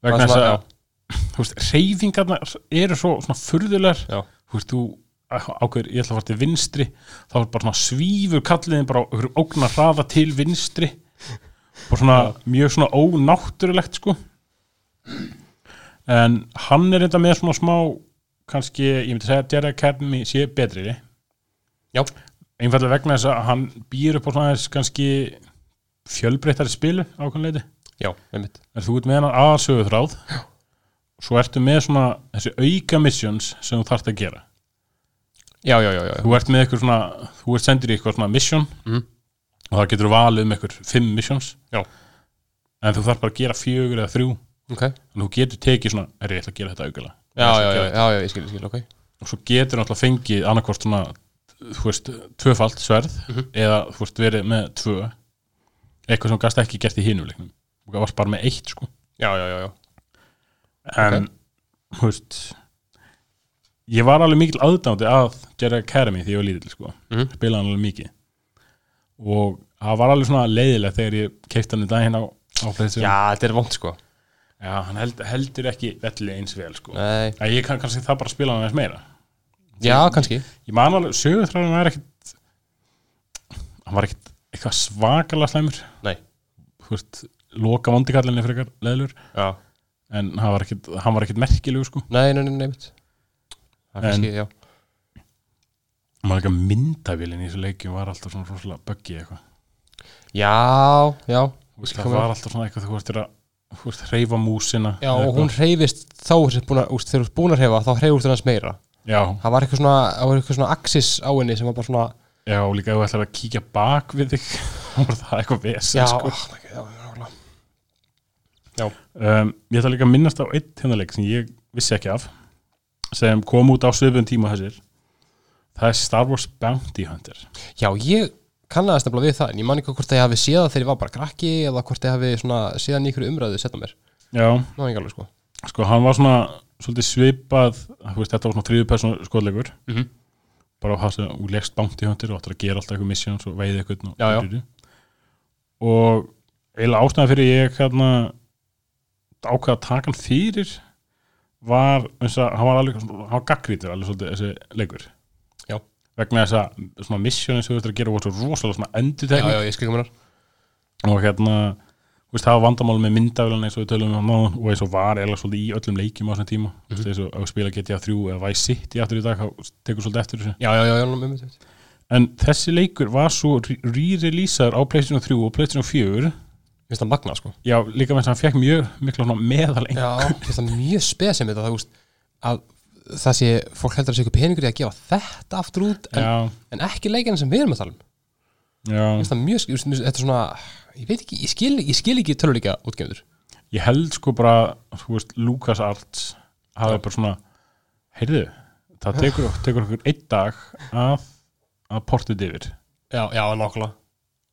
[SPEAKER 2] vegna
[SPEAKER 1] Það er
[SPEAKER 2] þess
[SPEAKER 1] svona-
[SPEAKER 2] að, þú veist, reyfingarnar eru svo svona furðulegar
[SPEAKER 1] Já.
[SPEAKER 2] þú veist, þú ákveður, ég ætla að fara til vinstri þá er bara svona svífur kalliðin bara okkur ógnar hraða til vinstri og svona mjög svona ónáttúrulegt sko en hann er þetta með svona smá kannski, ég myndi segja að Jerry Academy sé betri
[SPEAKER 1] Já,
[SPEAKER 2] einfallega vegna þess að hann býr upp á svona aðeins kannski fjölbreyttari spilu ákveðinleiti
[SPEAKER 1] já, einmitt
[SPEAKER 2] en þú ert með hann aðsögu þráð svo ertu með svona þessi auka missions sem þú þarft að gera
[SPEAKER 1] Já, já, já, já, já.
[SPEAKER 2] þú ert með eitthvað svona þú ert sendur í eitthvað svona mission
[SPEAKER 1] Mhm.
[SPEAKER 2] og það getur valið um eitthvað fimm missions
[SPEAKER 1] Já.
[SPEAKER 2] en þú þarft bara að gera fjögur eða þrjú
[SPEAKER 1] ok
[SPEAKER 2] en þú getur tekið svona, er ég ætla að gera þetta aukala
[SPEAKER 1] Já, já, já, já, já, ég skil, ég skil, ok
[SPEAKER 2] og svo getur náttúrulega fengið annarkvort svona, þú veist, tvöfalt sverð
[SPEAKER 1] Mhm.
[SPEAKER 2] eða þú veist verið með tvö eitthvað sem þú gast ekki gert í hinum leiknum og það varst bara með eitt sko
[SPEAKER 1] Já, já, já, já
[SPEAKER 2] en, þú veist ég var alveg mikil aðdándi að Jerry Academy því ég var lítill sko
[SPEAKER 1] Mhm.
[SPEAKER 2] spilaði hann alveg mikið og það var alveg svona leiðilegt þegar ég keipti hann í daginn á, á PlayStation.
[SPEAKER 1] Já, þetta er vond, sko
[SPEAKER 2] Já, hann held, heldur ekki velli eins vel sko
[SPEAKER 1] Nei,
[SPEAKER 2] að ég kann kannski það bara spila hann eins meira
[SPEAKER 1] já, kannski
[SPEAKER 2] ég man alveg, sögurþráðurinn var ekkit hann var ekkit eitthvað svakalega slæmur
[SPEAKER 1] Nei,
[SPEAKER 2] þú veist, loka vondikallinni frekar leðlur,
[SPEAKER 1] já
[SPEAKER 2] en hann var ekkit, hann var ekkit merkilegu sko,
[SPEAKER 1] Nei, nei, nei, nei, einmitt Það er
[SPEAKER 2] En-
[SPEAKER 1] kannski, já
[SPEAKER 2] hann var ekki að myndavélinn í þessu leikjum var alltaf svona rosalega buggy eitthvað,
[SPEAKER 1] Já, já
[SPEAKER 2] Þú veist, það var alltaf svona eitthvað þú veist, þegar að þú veist, reyfa músina
[SPEAKER 1] Já,
[SPEAKER 2] eða
[SPEAKER 1] og hún
[SPEAKER 2] eitthvað.
[SPEAKER 1] hreyfist þá er þessi búin að, úst, þegar þú ert búin að hreyfa þá hreyfust hann hans meira
[SPEAKER 2] já,
[SPEAKER 1] Það var eitthvað svona, það var eitthvað svona axis á henni sem var bara svona
[SPEAKER 2] já, og líka ef þú ætlar að kíkja bak við þig, þá var það eitthvað vesen
[SPEAKER 1] Já,
[SPEAKER 2] sko.
[SPEAKER 1] oh my God, já, já, já,
[SPEAKER 2] um, ég ætla líka að minnast á einn tindaleik sem ég vissi ekki af sem kom út á svipun tíma þessir það er Star Wars Bounty Hunter
[SPEAKER 1] já, ég kannaðast nefnilega við það en ég man ekki hvort að ég hafi séð það þegar ég var bara krakki eða hvort ég hafi svona séðan í einhverju umræðu setna mér
[SPEAKER 2] já,
[SPEAKER 1] Ná, ekki alveg sko
[SPEAKER 2] sko hann var svona svolítið svipað, þú veist þetta var svona þriðu person skoðleikur
[SPEAKER 1] Mhm.
[SPEAKER 2] bara á það sem þú leggst Bounty Hunter og áttur að gera alltaf eitthvað missions og veiði eitthvað og,
[SPEAKER 1] Já, já.
[SPEAKER 2] og eiginlega ástæðan fyrir ég hérna ákveða að taka hann fyrir var, eins og hann var alveg hann var gaggrítur alveg svolítið þessi leikur
[SPEAKER 1] Já.
[SPEAKER 2] vegna þess að svona missionin sem þú ert að gera voru svo rosalega svona
[SPEAKER 1] Já,
[SPEAKER 2] endutekning
[SPEAKER 1] já, ég skil komunar
[SPEAKER 2] og hérna þú veist, það var vandamál með myndavélana eins og við tölum um náðan og eins og var eða svolítið í öllum leikjum á þessum tíma mm -hmm. eins og að spila GTA 3 eða Vice City aftur í dag, þá tekur svolítið eftir þessu
[SPEAKER 1] Já, já, já, já, nú, einmitt, einmitt.
[SPEAKER 2] en þessi leikur var svo re- re-releasaður á PlayStation 3 og PlayStation 4
[SPEAKER 1] Mér finnst það magna sko
[SPEAKER 2] já, líka með þess að hann fekk mjög mikla svona meðal
[SPEAKER 1] Já, mér finnst það mjög spesum þetta það, úst, að það sé, fólk heldur að sé ykkur peningur í að gefa þetta aftur út en,
[SPEAKER 2] já,
[SPEAKER 1] en ekki leikinn sem við erum að tala um
[SPEAKER 2] já,
[SPEAKER 1] Mér finnst það mjög, sk- úst, mér finnst- þetta er svona ég veit ekki, ég skil, ég skil ekki töluleika útgefndur
[SPEAKER 2] ég held sko bara þú veist, LucasArts hafi bara svona, heyrðu það tekur, tekur okkur einn dag að, að portið yfir
[SPEAKER 1] Já, já, nákvæmlega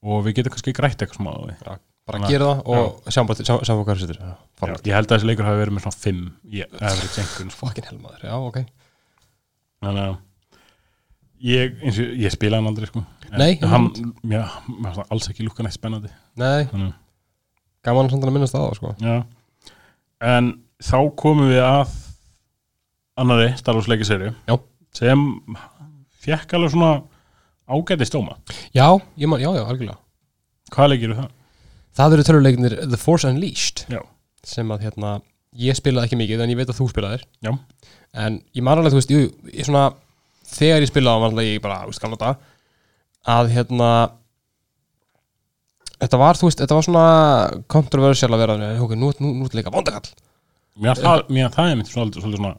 [SPEAKER 2] og við getum kannski grætt eitthvað smá á því
[SPEAKER 1] já, Bara
[SPEAKER 2] Þannig að-
[SPEAKER 1] gera það og um sjáum bara- sjáum- sjáum hvað það setur
[SPEAKER 2] Já, ég held að þessi leikur hafi verið með svona 5 í average einhvern sko.
[SPEAKER 1] Fokkin helmaður, já, ok
[SPEAKER 2] þannig að ég, eins og, ég spilaði hann aldrei sko. En
[SPEAKER 1] Nei,
[SPEAKER 2] hann, já, mér fannst það alls ekki lúkkan eitt spennandi
[SPEAKER 1] Nei,
[SPEAKER 2] Þannig.
[SPEAKER 1] gaman samt að minnast það á, sko
[SPEAKER 2] já. en þá komum við að annari Star Wars leikiseri
[SPEAKER 1] Já.
[SPEAKER 2] sem fekk alveg svona ágæti stóma
[SPEAKER 1] Já, ég man, já, já, algjörlega
[SPEAKER 2] hvað leikir við það?
[SPEAKER 1] Það eru töluleikinir The Force Unleashed
[SPEAKER 2] Já.
[SPEAKER 1] sem að, hérna, ég spilaði ekki mikið en ég veit að þú spilaðir
[SPEAKER 2] Já.
[SPEAKER 1] En ég man alveg, þú veist, jú, ég svona þegar ég spilaði, var alveg ég bara, þú veist, gamla dag að, hérna Þetta var, þú veist, þetta var svona kontroversial að vera, ok, nú, nú, nú, nú líka vondakall
[SPEAKER 2] mér fannst það, mér fannst það er mitt svona, svolítið svona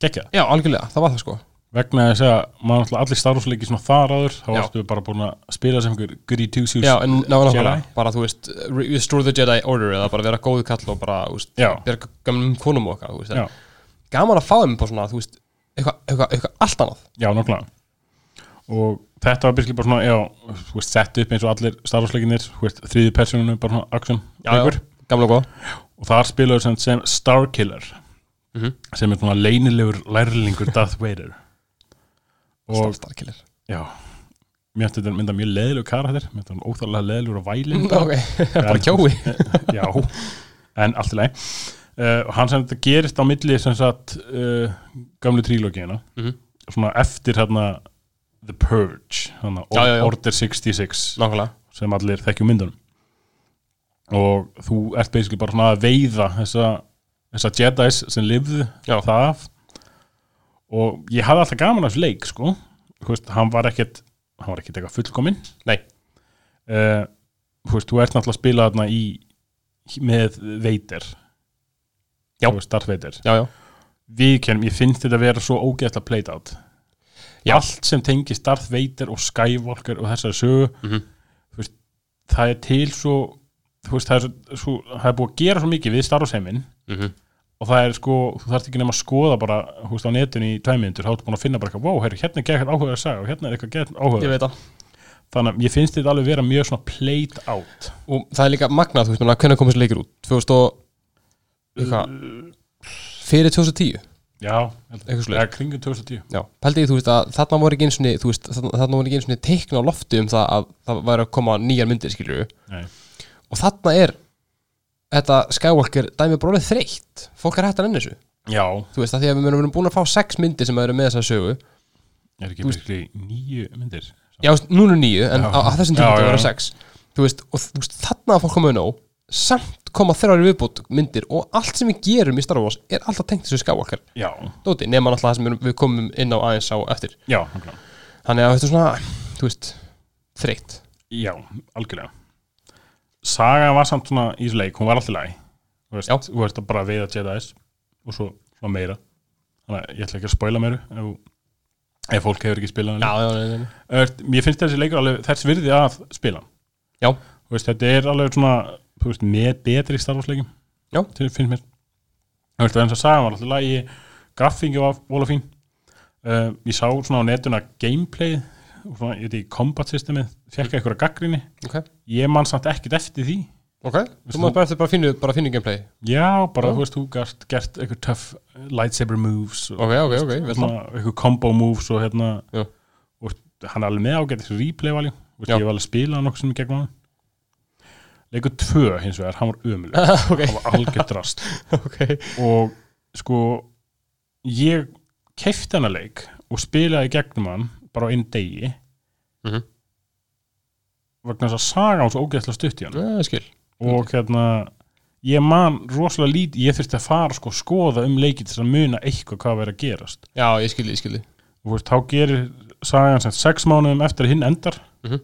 [SPEAKER 2] gekkja
[SPEAKER 1] Já, algjörlega, það var það, sko
[SPEAKER 2] vegna þess að maður náttúrulega allir Star Wars leiki svona þar áður þá
[SPEAKER 1] Já.
[SPEAKER 2] varstu bara búin að spila sem einhver goody two shoes
[SPEAKER 1] Já, en ná, nákvæmlega,
[SPEAKER 2] Jedi.
[SPEAKER 1] bara, þú veist, re- restore the Jedi Order eða bara vera góðu kall og bara, þú veist,
[SPEAKER 2] Já.
[SPEAKER 1] bjarga gamlum konum okkar, þú veist,
[SPEAKER 2] Já.
[SPEAKER 1] gaman að fá þeim bara svona, þú veist, eitthvað eitthva, eitthva allt annað
[SPEAKER 2] Já, nokkla og þetta var byrkli bara svona já, þú veist, sett upp eins og allir Star Wars leikinir þú veist, þriði persónunum, bara svona action leikur
[SPEAKER 1] Gamla og góð
[SPEAKER 2] og þar spilaður sem, sem Starkiller
[SPEAKER 1] Mhm.
[SPEAKER 2] sem er svona leynilegur lærlingur Darth Vader og
[SPEAKER 1] Starkiller
[SPEAKER 2] já mér ætti þetta mynda mjög leðilegu karakter mér ætti hann óþálega leðilegur og vælin
[SPEAKER 1] Ok, bara kjói
[SPEAKER 2] já, en allt í lagi uh, og hann sem þetta gerist á milli sem sagt uh, gamlu trílógina
[SPEAKER 1] Mhm.
[SPEAKER 2] svona eftir hérna The Purge, hérna
[SPEAKER 1] Já, já, já.
[SPEAKER 2] Order 66
[SPEAKER 1] Nákvæmlega
[SPEAKER 2] sem allir þekkjum myndunum og þú ert basically bara svona að veiða þessa, þessa Jedis sem lifðu
[SPEAKER 1] Já.
[SPEAKER 2] það af og ég hafði alltaf gaman af þessu leik sko, þú veist, hann var ekkert hann var ekkert eitthvað fullkominn
[SPEAKER 1] Nei.
[SPEAKER 2] Eh, þú veist, þú ert náttúrulega að spila þarna í með veitir
[SPEAKER 1] Já.
[SPEAKER 2] veist, Darth Vader
[SPEAKER 1] Já, já
[SPEAKER 2] við kennum, ég finnst þetta að vera svo ógeðslega played out
[SPEAKER 1] Já.
[SPEAKER 2] allt sem tengist Darth Vader og Skywalker og þessari sögu
[SPEAKER 1] Mhm.
[SPEAKER 2] þú veist, það er til svo þú veist, það er, svo- svo, það er búið að gera svo mikið við Star Wars heiminn
[SPEAKER 1] Mhm.
[SPEAKER 2] og það er sko, þú þarft ekki nema að skoða bara, þú veist, á netinu í tæmiðindur þá ertu búin að finna bara eitthvað, wow, herri, hérna er eitthvað áhuga að sagja og hérna er eitthvað geð
[SPEAKER 1] Ég
[SPEAKER 2] áhuga
[SPEAKER 1] veit það
[SPEAKER 2] þannig að ég finnst þetta alveg vera mjög svona played out
[SPEAKER 1] Og það er líka magnað, þú veist núna, hvernig komist leikir út? 2000 og Eitthvað Fyrir 2010
[SPEAKER 2] já,
[SPEAKER 1] Eitthvað svoleiðis.
[SPEAKER 2] eða kringum 2010
[SPEAKER 1] Já, pældi ég, þú veist að þarna voru ekki einu sinni, þú veist, þarna, þarna voru ekki einu sinni teikna á lofti um það að það væri að koma nýjar myndir, skilur
[SPEAKER 2] Nei.
[SPEAKER 1] Og þarna er, þetta Skywalker dæmi bróðið þreytt, fólk er hægt að nenni þessu
[SPEAKER 2] já,
[SPEAKER 1] Þú veist, að því að við munum verið búin að fá sex myndir sem eru með þessa sögu
[SPEAKER 2] er ekki basically nýju myndir
[SPEAKER 1] Já, þú veist, núna er nýju, en
[SPEAKER 2] Já.
[SPEAKER 1] á, á þessum
[SPEAKER 2] Já,
[SPEAKER 1] tíma það
[SPEAKER 2] já.
[SPEAKER 1] voru sex Þú veist, og þú veist, þarna að fólk koma nóg Samt koma þrjári viðbútt myndir Og allt sem við gerum í Star Wars er alltaf tengt þessu Skywalker
[SPEAKER 2] já,
[SPEAKER 1] Dóti, nema alltaf það sem við- við komum inn á aðeins á eftir
[SPEAKER 2] já, nákvæmlega.
[SPEAKER 1] Þannig að þetta er svona, þú veist, þreytt
[SPEAKER 2] Já, algjörlega Saga var samt svona í þessu leik, hún var alltaf læg Þú veist,
[SPEAKER 1] Já.
[SPEAKER 2] þú veist að bara veiða Jedi's og svo svona meira Þannig að ég ætla ekki að spoila meiru ef, ef fólk hefur ekki spilað hann
[SPEAKER 1] Já, já, já, já,
[SPEAKER 2] Mér finnst þessi leikur alveg þess virði að spila hann.
[SPEAKER 1] já.
[SPEAKER 2] Þú veist, Þetta er alveg svona þú veist, með betri starfosleikum
[SPEAKER 1] Já.
[SPEAKER 2] finnst mér Þú veist, þannig að saga var alltaf lægi graffingi var vola fín uh, Ég sá svona á netuna gameplay og svona, ég veit ekki, combat systemið fekk eitthvað gaggrinni
[SPEAKER 1] ok,
[SPEAKER 2] ég man samt ekkert eftir því
[SPEAKER 1] ok Þú maður bara eftir bara finnu, bara finnu gameplay
[SPEAKER 2] já, bara
[SPEAKER 1] Já.
[SPEAKER 2] þú veist, þú gast gert eitthvað tough lightsaber moves og
[SPEAKER 1] Ok, ok, ok, vel það
[SPEAKER 2] svona, eitthvað combo moves og hérna
[SPEAKER 1] Já.
[SPEAKER 2] og hann er alveg með ágætt replay valjú, veist,
[SPEAKER 1] Já.
[SPEAKER 2] ég var alveg að spila hann okkur sem gegn hann leikur tvö hins vegar, hann var ömuleg
[SPEAKER 1] Ok,
[SPEAKER 2] hann var algjört rast
[SPEAKER 1] ok
[SPEAKER 2] og sko ég keifti hann að leik og spilaði gegnum hann bara á einn degi
[SPEAKER 1] Mhm.
[SPEAKER 2] vegna þess að saga hans ógætla stutt í hann
[SPEAKER 1] Já, ég skil
[SPEAKER 2] og hérna ég man rosalega lítið, ég þurfti að fara sko að skoða um leikið þess að muna eitthvað hvað verið að gerast
[SPEAKER 1] Já, ég skil, ég skil
[SPEAKER 2] og þú veist, þá gerir sagan sem sagt sex mánuðum eftir að hinn endar
[SPEAKER 1] Mhm.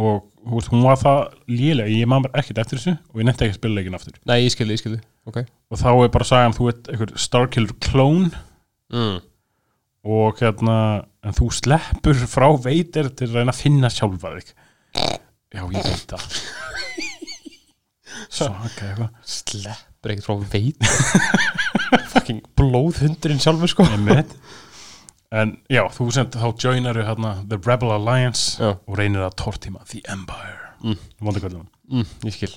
[SPEAKER 2] og þú veist, hún var það lélega, ég man bara ekkert eftir þessu og ég nefndi ekki að spila leikin aftur
[SPEAKER 1] Nei, ég skil, ég skil Ok
[SPEAKER 2] og þá er bara sagan, þú veit, einhver Starkiller klón
[SPEAKER 1] mm.
[SPEAKER 2] og hérna, en þú sleppur frá veitir til að reyna að finna sjálfa þig já, ég veit það svaka eitthvað
[SPEAKER 1] Sleppur ekkert frá veit Fucking blóðhundurinn sjálfur, sko
[SPEAKER 2] Einmitt. En já, þú sem þá joinaru hérna The Rebel Alliance
[SPEAKER 1] Já.
[SPEAKER 2] og reynir að tortíma The Empire
[SPEAKER 1] Mm.
[SPEAKER 2] Vondu köllum.
[SPEAKER 1] mm, Ég skil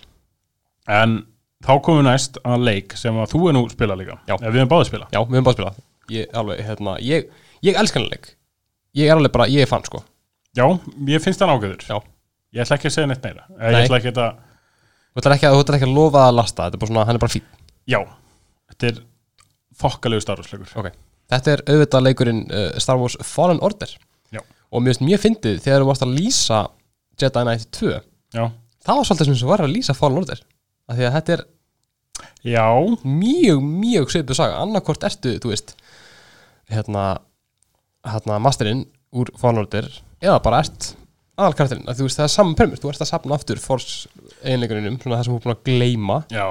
[SPEAKER 2] En þá komum við næst að leik sem að þú er nú spila líka
[SPEAKER 1] Já.
[SPEAKER 2] Eða, Við erum báðið spila
[SPEAKER 1] Já, við höfum bara að spila Ég, alveg, hérna Ég, ég elskan hann leik Ég er alveg bara, ég er fan, sko
[SPEAKER 2] Já, ég finnst hann ágæður
[SPEAKER 1] Já.
[SPEAKER 2] Ég ætla ekki að segja neitt meira Nei.
[SPEAKER 1] Nei.
[SPEAKER 2] Ég ætla ekki að
[SPEAKER 1] Þú ætlar ekki, að- þú ætlar ekki að lofa að lasta Þetta er bara svona, hann er bara fín
[SPEAKER 2] Já, þetta er þokkalegu starfsleikur
[SPEAKER 1] Ok, þetta er auðvitað leikurinn uh, Star Wars Fallen Order
[SPEAKER 2] Já.
[SPEAKER 1] og mér finnst mjög fyndið þegar þú varst að lýsa Jedi Knight 2
[SPEAKER 2] Já,
[SPEAKER 1] það var svolítið sem þú var að lýsa Fallen Order af því að þetta er
[SPEAKER 2] já,
[SPEAKER 1] mjög, mjög svipuð saga annarkvort ertu, þú veist hérna, hérna masterinn úr Fallen Order eða bara ert aðalkartirinn að þú veist það er saman premis, þú ert að safna aftur force einleikurinnum, svona það sem þú er búin að gleyma
[SPEAKER 2] já,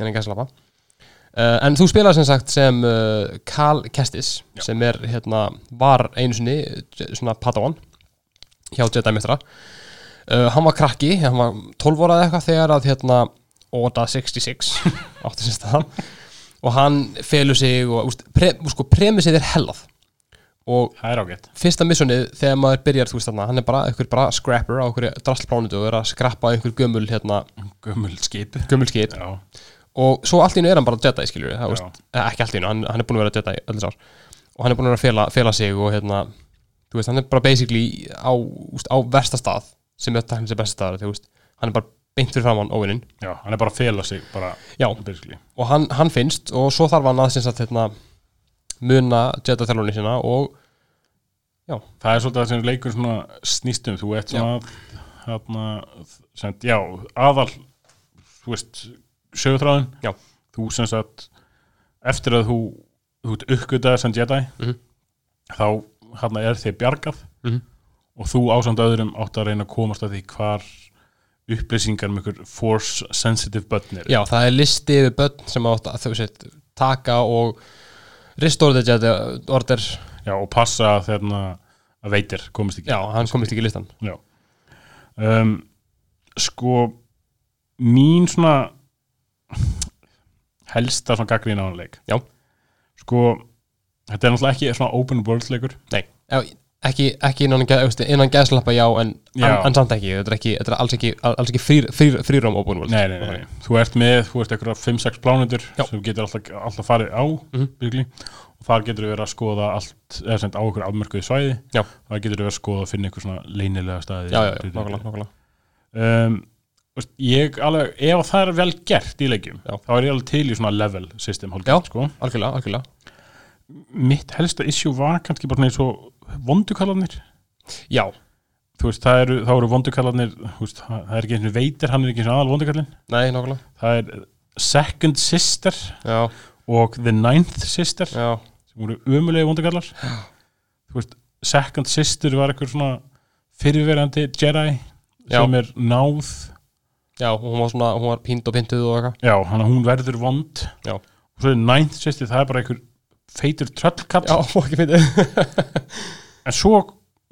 [SPEAKER 1] en enga slappa uh, en þú spilaði sem sagt sem uh, Cal Kestis
[SPEAKER 2] Já.
[SPEAKER 1] sem er hérna var einu sinni eh, svona padawan hjá Jedi Mithra uh, hann var krakki, hann var 12 ára eða eitthvað þegar að hérna Oda 66 átti sem staðan og hann felur sig og úst, pre, sko, premissið er hellað og
[SPEAKER 2] það er ágætt
[SPEAKER 1] fyrsta missunið þegar maður byrjar þú veist þarna, hann er bara einhver bara scrapper á einhverju drastlplánutu og er að skrappa einhver gömul hérna,
[SPEAKER 2] Gömul skip
[SPEAKER 1] gömul skip
[SPEAKER 2] Já,
[SPEAKER 1] og svo allt í nú er hann bara Jedi skilur við, það,
[SPEAKER 2] Já.
[SPEAKER 1] veist, eh, ekki allt í nú, hann, hann er búin að vera Jedi öll þessar og hann er búin að vera að fela, fela sig og hérna, þú veist, hann er bara basically á, úst, á versta stað sem er tæknir sem besta staðar, þú veist hann er bara beint fyrir framann óvinnin
[SPEAKER 2] Já, hann er bara að fela sig bara,
[SPEAKER 1] Já,
[SPEAKER 2] basically
[SPEAKER 1] og hann, hann finnst og svo þarf hann að sem sagt, hérna, muna Jedi þjálfunni sína og
[SPEAKER 2] Það er svolítið það sem leikur svona snýstum Þú ert svona hérna, send, Já, aðal Þú veist, sögutráðin
[SPEAKER 1] Já.
[SPEAKER 2] Þú sem sagt Eftir að þú, þú ert uppgötaði sem Jedi
[SPEAKER 1] Mhm.
[SPEAKER 2] Þá hérna er þið bjargað
[SPEAKER 1] Mhm.
[SPEAKER 2] Og þú ásamt öðrum átt að reyna að komast að því hvar upplýsingar með ykkur force sensitive börn eru
[SPEAKER 1] Já, það er listi yfir börn sem átt að þau sett taka og ristorðið Jedi order
[SPEAKER 2] Já, og passa að þérna að veitir komist ekki
[SPEAKER 1] Já, hann komist ekki í listan
[SPEAKER 2] Já. Um, sko mín svona helsta svona gaggrín á hann leik
[SPEAKER 1] Já.
[SPEAKER 2] sko þetta er náttúrulega ekki svona open world leikur
[SPEAKER 1] Nei, já, ekki, ekki innan, geð- þú veist, innan geðslappa já en,
[SPEAKER 2] Já.
[SPEAKER 1] en, en samt ekki, þetta er, ekki, þetta er alls ekki, alls ekki frýr, frýr, frýróm open world
[SPEAKER 2] nei, nei, nei, nei. þú ert með, þú ert eitthvað 5-6 plánutur
[SPEAKER 1] Já.
[SPEAKER 2] sem þú getur alltaf, alltaf farið á mm
[SPEAKER 1] Mhm.
[SPEAKER 2] og þar getur þú verið að skoða allt, eða sem á okkur afmörkuðu svæði
[SPEAKER 1] Já.
[SPEAKER 2] þar getur þú verið að skoða að finna eitthvað svona leynilega staði
[SPEAKER 1] Já, já, já, nákvæmlega, nákvæmlega
[SPEAKER 2] um, þú veist, ég alveg, ef það er vel gert í leikjum,
[SPEAKER 1] Já.
[SPEAKER 2] þá er ég alveg til í svona level system,
[SPEAKER 1] Já.
[SPEAKER 2] hálfgætt, sko
[SPEAKER 1] Algjörlega, algjörlega
[SPEAKER 2] mitt helsta issue var kannski bara svona eins og vondukallarnir
[SPEAKER 1] Já,
[SPEAKER 2] þú veist, það eru, þá eru vondukallarnir þú veist, það það er ekki eins og veitir, hann er ekki eins og aðal vondukallin
[SPEAKER 1] nei, nákvæmlega
[SPEAKER 2] það er second sister
[SPEAKER 1] Já,
[SPEAKER 2] og the ninth sister
[SPEAKER 1] já,
[SPEAKER 2] sem voru umulegi vondukallar þú veist, second sister var eitthvað svona fyrirverandi Jedi
[SPEAKER 1] Já.
[SPEAKER 2] sem er náð
[SPEAKER 1] já, og hún var svona, hún var pínd og pintuð og eitthvað
[SPEAKER 2] já, hann hún verður vond
[SPEAKER 1] Já.
[SPEAKER 2] og svo er ninth sister, það er bara einhver feitur tröllkall
[SPEAKER 1] Já, fór ekki fyndið
[SPEAKER 2] en svo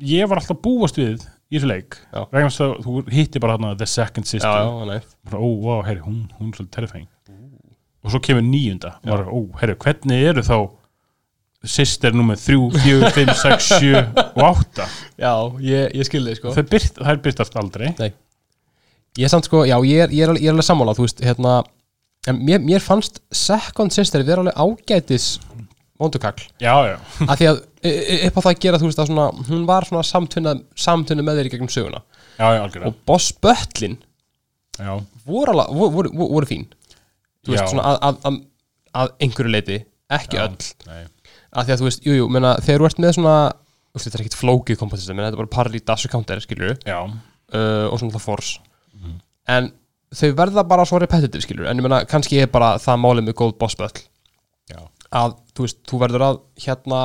[SPEAKER 2] ég var alltaf búast við í þessu leik
[SPEAKER 1] Já.
[SPEAKER 2] vegna þess að þú hitti bara hana the second
[SPEAKER 1] Já, já,
[SPEAKER 2] sister
[SPEAKER 1] nei,
[SPEAKER 2] bara, ó, vá, herri, hún, hún er svolítið terrifying og svo kemur nýjunda og maður, ó, herri, hvernig eru þá sister nummer 3, 4, 5, 6, 7 og 8
[SPEAKER 1] já, ég, ég skilði sko
[SPEAKER 2] það er byrt, það er byrt allt aldrei
[SPEAKER 1] Ég samt sko, já, ég er, ég er, alveg- ég er alveg sammála, þú veist, hérna en mér, mér fannst second sister vera alveg ágætis vondukall,
[SPEAKER 2] já, já,
[SPEAKER 1] af því að e- e- upp á það að gera, þú veist, að svona, hún var svona samtunna, samtunna með þeir í gegnum söguna
[SPEAKER 2] já, já, algjörða
[SPEAKER 1] og boss böllin
[SPEAKER 2] já,
[SPEAKER 1] voru, alveg- voru, voru, voru, voru fín þú
[SPEAKER 2] Já.
[SPEAKER 1] veist, svona að, að, að, að einhverju leiti, ekki öll
[SPEAKER 2] nei,
[SPEAKER 1] af því að þú veist, jú, jú, menna, þegar þú ert með svona þú veist, þetta er ekkit flókið kompatist menna, þetta er bara parri, dash og counter, skilur
[SPEAKER 2] já,
[SPEAKER 1] uh, og svona það force
[SPEAKER 2] Mhm.
[SPEAKER 1] en þau verða bara svo repetitive skilur en ég meina kannski er bara það málið með góð boss battle
[SPEAKER 2] já
[SPEAKER 1] að þú veist, þú verður að hérna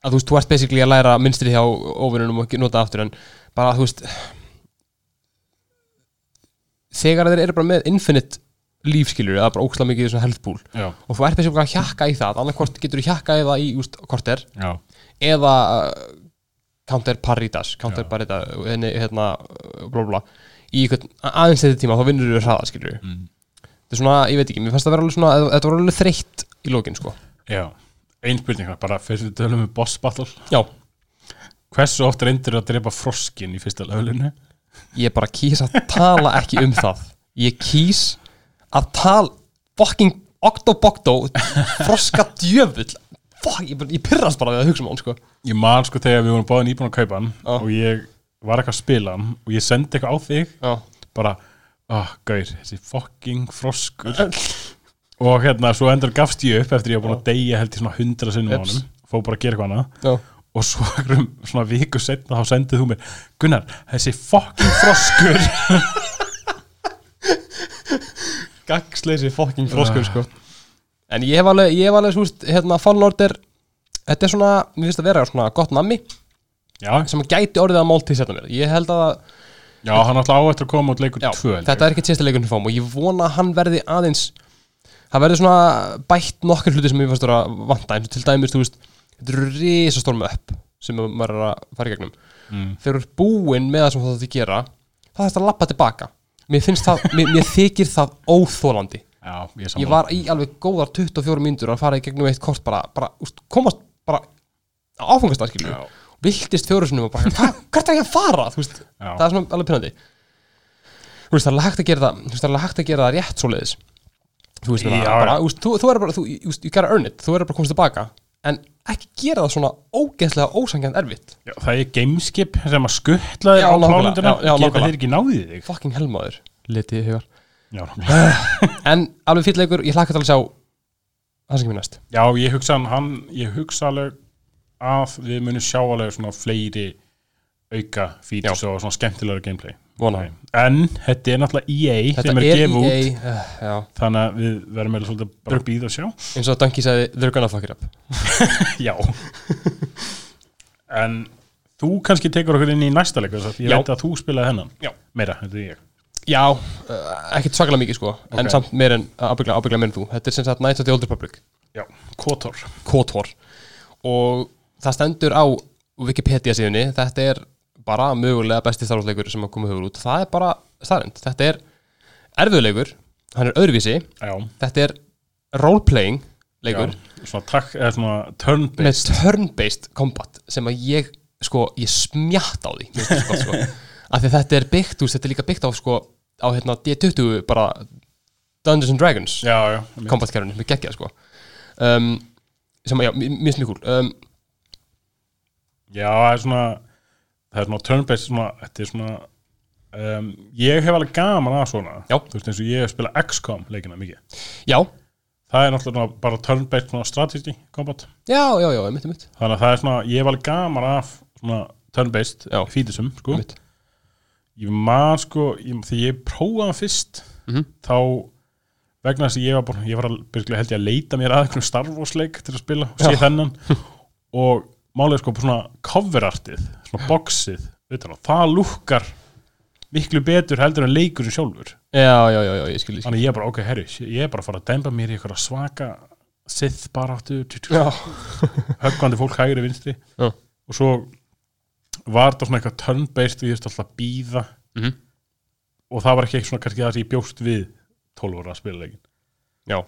[SPEAKER 1] að þú veist, þú ert basically að læra minnstri hjá ofinunum og ekki nota aftur en bara þú veist þegar þeir eru bara með infinite líf skilur eða bara óksla mikið í svona health pool
[SPEAKER 2] já,
[SPEAKER 1] og þú ert basically að hjakka í það annarkvort getur þú hjakka í það í úst, korter
[SPEAKER 2] já,
[SPEAKER 1] eða uh, counter paritas counter paritas henni, hérna, uh, blá blá í einhvern aðeins þetta tíma þá vinnur þú hraða skilur mm. þetta er svona, ég veit ekki, mér fannst það vera alveg svona þetta var alveg þreytt í lókin sko
[SPEAKER 2] já ein spurning, bara fyrst við tölum um boss battle
[SPEAKER 1] já,
[SPEAKER 2] hversu oft reyndir að drepa froskin í fyrsta löglinu
[SPEAKER 1] ég bara kýs að tala ekki um það ég kýs að tala fucking octobocto froska djöfull fuck, ég, bara- ég pyrrast bara við að hugsa um hann sko
[SPEAKER 2] ég man sko þegar við vorum báðin íbúin að kaupa hann
[SPEAKER 1] Já.
[SPEAKER 2] og ég var eitthvað að spila hann og ég sendi eitthvað á þig
[SPEAKER 1] já,
[SPEAKER 2] bara, ah, gaur, þessi fucking froskur og hérna, svo endur gafst ég upp eftir ég var búin að deyja held í svona hundra sinnum á
[SPEAKER 1] Ups.
[SPEAKER 2] honum fó bara að gera eitthvað annað
[SPEAKER 1] já,
[SPEAKER 2] og svo einhverjum svona viku setna þá sendið þú mér Gunnar, þessi fucking froskur
[SPEAKER 1] gagsleysi fokking froskur sko En ég hef alveg, ég hef alveg, þú veist, hérna, Fallen Order Þetta er svona, mér finnst að vera svona gott nammi
[SPEAKER 2] já,
[SPEAKER 1] sem gæti orðið að máltíð setna mér Ég held að,
[SPEAKER 2] já, hann ætla á eftir að koma út leikur
[SPEAKER 1] já,
[SPEAKER 2] tvö held ég.
[SPEAKER 1] þetta er ekkert sérsta leikurinn fóm og ég vona að hann verði aðeins Það verði svona bætt nokkur hluti sem mér fannst vera að vanta eins og til dæmis, þú veist, þetta eru risastorm upp sem maður er að fara í gegnum
[SPEAKER 2] Mm.
[SPEAKER 1] Þegar þú ert búinn með það sem þú þátt að gera þá þarfst að lappa tilbaka Mér finnst það, mér, mér þykir það óþólandi
[SPEAKER 2] já, ég, er
[SPEAKER 1] ég
[SPEAKER 2] sammála.
[SPEAKER 1] var í alveg góðar 24 mínútur að fara í gegnum eitt kort bara, bara úst, komast bara áfangast að skilju
[SPEAKER 2] Já.
[SPEAKER 1] viltist fjóru sinum og bara "Hva- hvert er ég að fara þú veist,
[SPEAKER 2] Já.
[SPEAKER 1] það er svona alveg pinnandi þú veist það er alveg hægt að gera það þú veist það er alveg hægt að gera það rétt svoleiðis þú veist,
[SPEAKER 2] Já,
[SPEAKER 1] bara,
[SPEAKER 2] já.
[SPEAKER 1] bara, úst, þú, þú er bara, þú, úst, you gotta earn it þú er bara komst tilbaka, en ekki gera það svona ógeðslega ósangjönd erfitt
[SPEAKER 2] Já, það er gameskip sem að skuttla þér
[SPEAKER 1] Já,
[SPEAKER 2] á
[SPEAKER 1] nákvæmlega,
[SPEAKER 2] klálunduna
[SPEAKER 1] já, já,
[SPEAKER 2] geta
[SPEAKER 1] nákvæmlega.
[SPEAKER 2] þeir ekki náðið þig
[SPEAKER 1] fucking helmaður, litið í hugar
[SPEAKER 2] já, nákvæmlega.
[SPEAKER 1] en alveg fyrir leikur, ég hlakka til að sjá það sem kemur næst
[SPEAKER 2] já, ég hugsa um hann- hann ég hugsa alveg að við munum sjá alveg svona fleiri auka features og svona skemmtilega gameplay
[SPEAKER 1] Vona.
[SPEAKER 2] en þetta er náttúrulega EA
[SPEAKER 1] þetta
[SPEAKER 2] sem er,
[SPEAKER 1] er EA
[SPEAKER 2] gefa út
[SPEAKER 1] uh, já,
[SPEAKER 2] þannig að við verðum með svolítið bara að býða og sjá
[SPEAKER 1] eins og að Dunky sagði they're gonna fuck it up
[SPEAKER 2] já en þú kannski tekur okkur inn í næsta leik þess að ég
[SPEAKER 1] Já.
[SPEAKER 2] veit að þú spilaði hennan
[SPEAKER 1] Já.
[SPEAKER 2] meira, þetta er ég
[SPEAKER 1] já, uh, ekkert svakalega mikið sko en
[SPEAKER 2] Ok.
[SPEAKER 1] samt meir en, ábygglega, ábygglega meir en þú þetta er sem sagt Knights of the Old Republic
[SPEAKER 2] já, Kotor
[SPEAKER 1] KOTOR og það stendur á Wikipedia síðunni, þetta er bara mögulega besti starfsleikur sem að koma hugur út það er bara starrend, þetta er erfiðleikur, hann er öðruvísi
[SPEAKER 2] já,
[SPEAKER 1] þetta er roleplaying leikur
[SPEAKER 2] já, svona, takk, eða svona turn
[SPEAKER 1] með turn-based combat sem að ég, sko, ég smjatt á því mér finnst það svo gott, sko. af því að þetta er byggt, þú veist, þetta er líka byggt á sko, á hérna D20 bara Dungeons and Dragons
[SPEAKER 2] já, já, einmitt.
[SPEAKER 1] kombatkerfinu sem er geggjað sko um, sem að, já, mér mér finnst mjög kúl um,
[SPEAKER 2] já, það er svona það er svona turn-based svona, þetta er svona um, ég hef alveg gaman að svona
[SPEAKER 1] Já.
[SPEAKER 2] þú veist eins og ég hef spilað XCOM leikina mikið
[SPEAKER 1] já,
[SPEAKER 2] það er náttúrulega bara turn-based svona strategy combat
[SPEAKER 1] já, já, já, einmitt, einmitt,
[SPEAKER 2] þannig að það er svona, ég hef alveg gaman af svona turn-based
[SPEAKER 1] Já.
[SPEAKER 2] fítisum sko.
[SPEAKER 1] einmitt.
[SPEAKER 2] ég man sko, ég, því ég prófaði hann fyrst
[SPEAKER 1] Mhm.
[SPEAKER 2] þá vegna þess að ég var búin, ég var að byrja held ég að leita mér að einhvern Star Wars leik til að spila og sé
[SPEAKER 1] Já.
[SPEAKER 2] þennan og málið er sko svona coverartið, svona boxið utan á, það lúkkar miklu betur heldur en leikurinn sjálfur
[SPEAKER 1] já, já, já, já, ég skil, ég skil
[SPEAKER 2] þannig að ég er bara, ok, herri, ég er bara að fara að dæmba mér í eitthvað svaka sith baráttu
[SPEAKER 1] já,
[SPEAKER 2] höggandi fólk hægri vinstri
[SPEAKER 1] Já.
[SPEAKER 2] og svo var það svona eitthvað turn-based og ég þurfti alltaf að býða
[SPEAKER 1] Mhm.
[SPEAKER 2] og það var ekki eitthvað svona kannski það sem ég bjóst við 12 ára að spila leikin
[SPEAKER 1] já,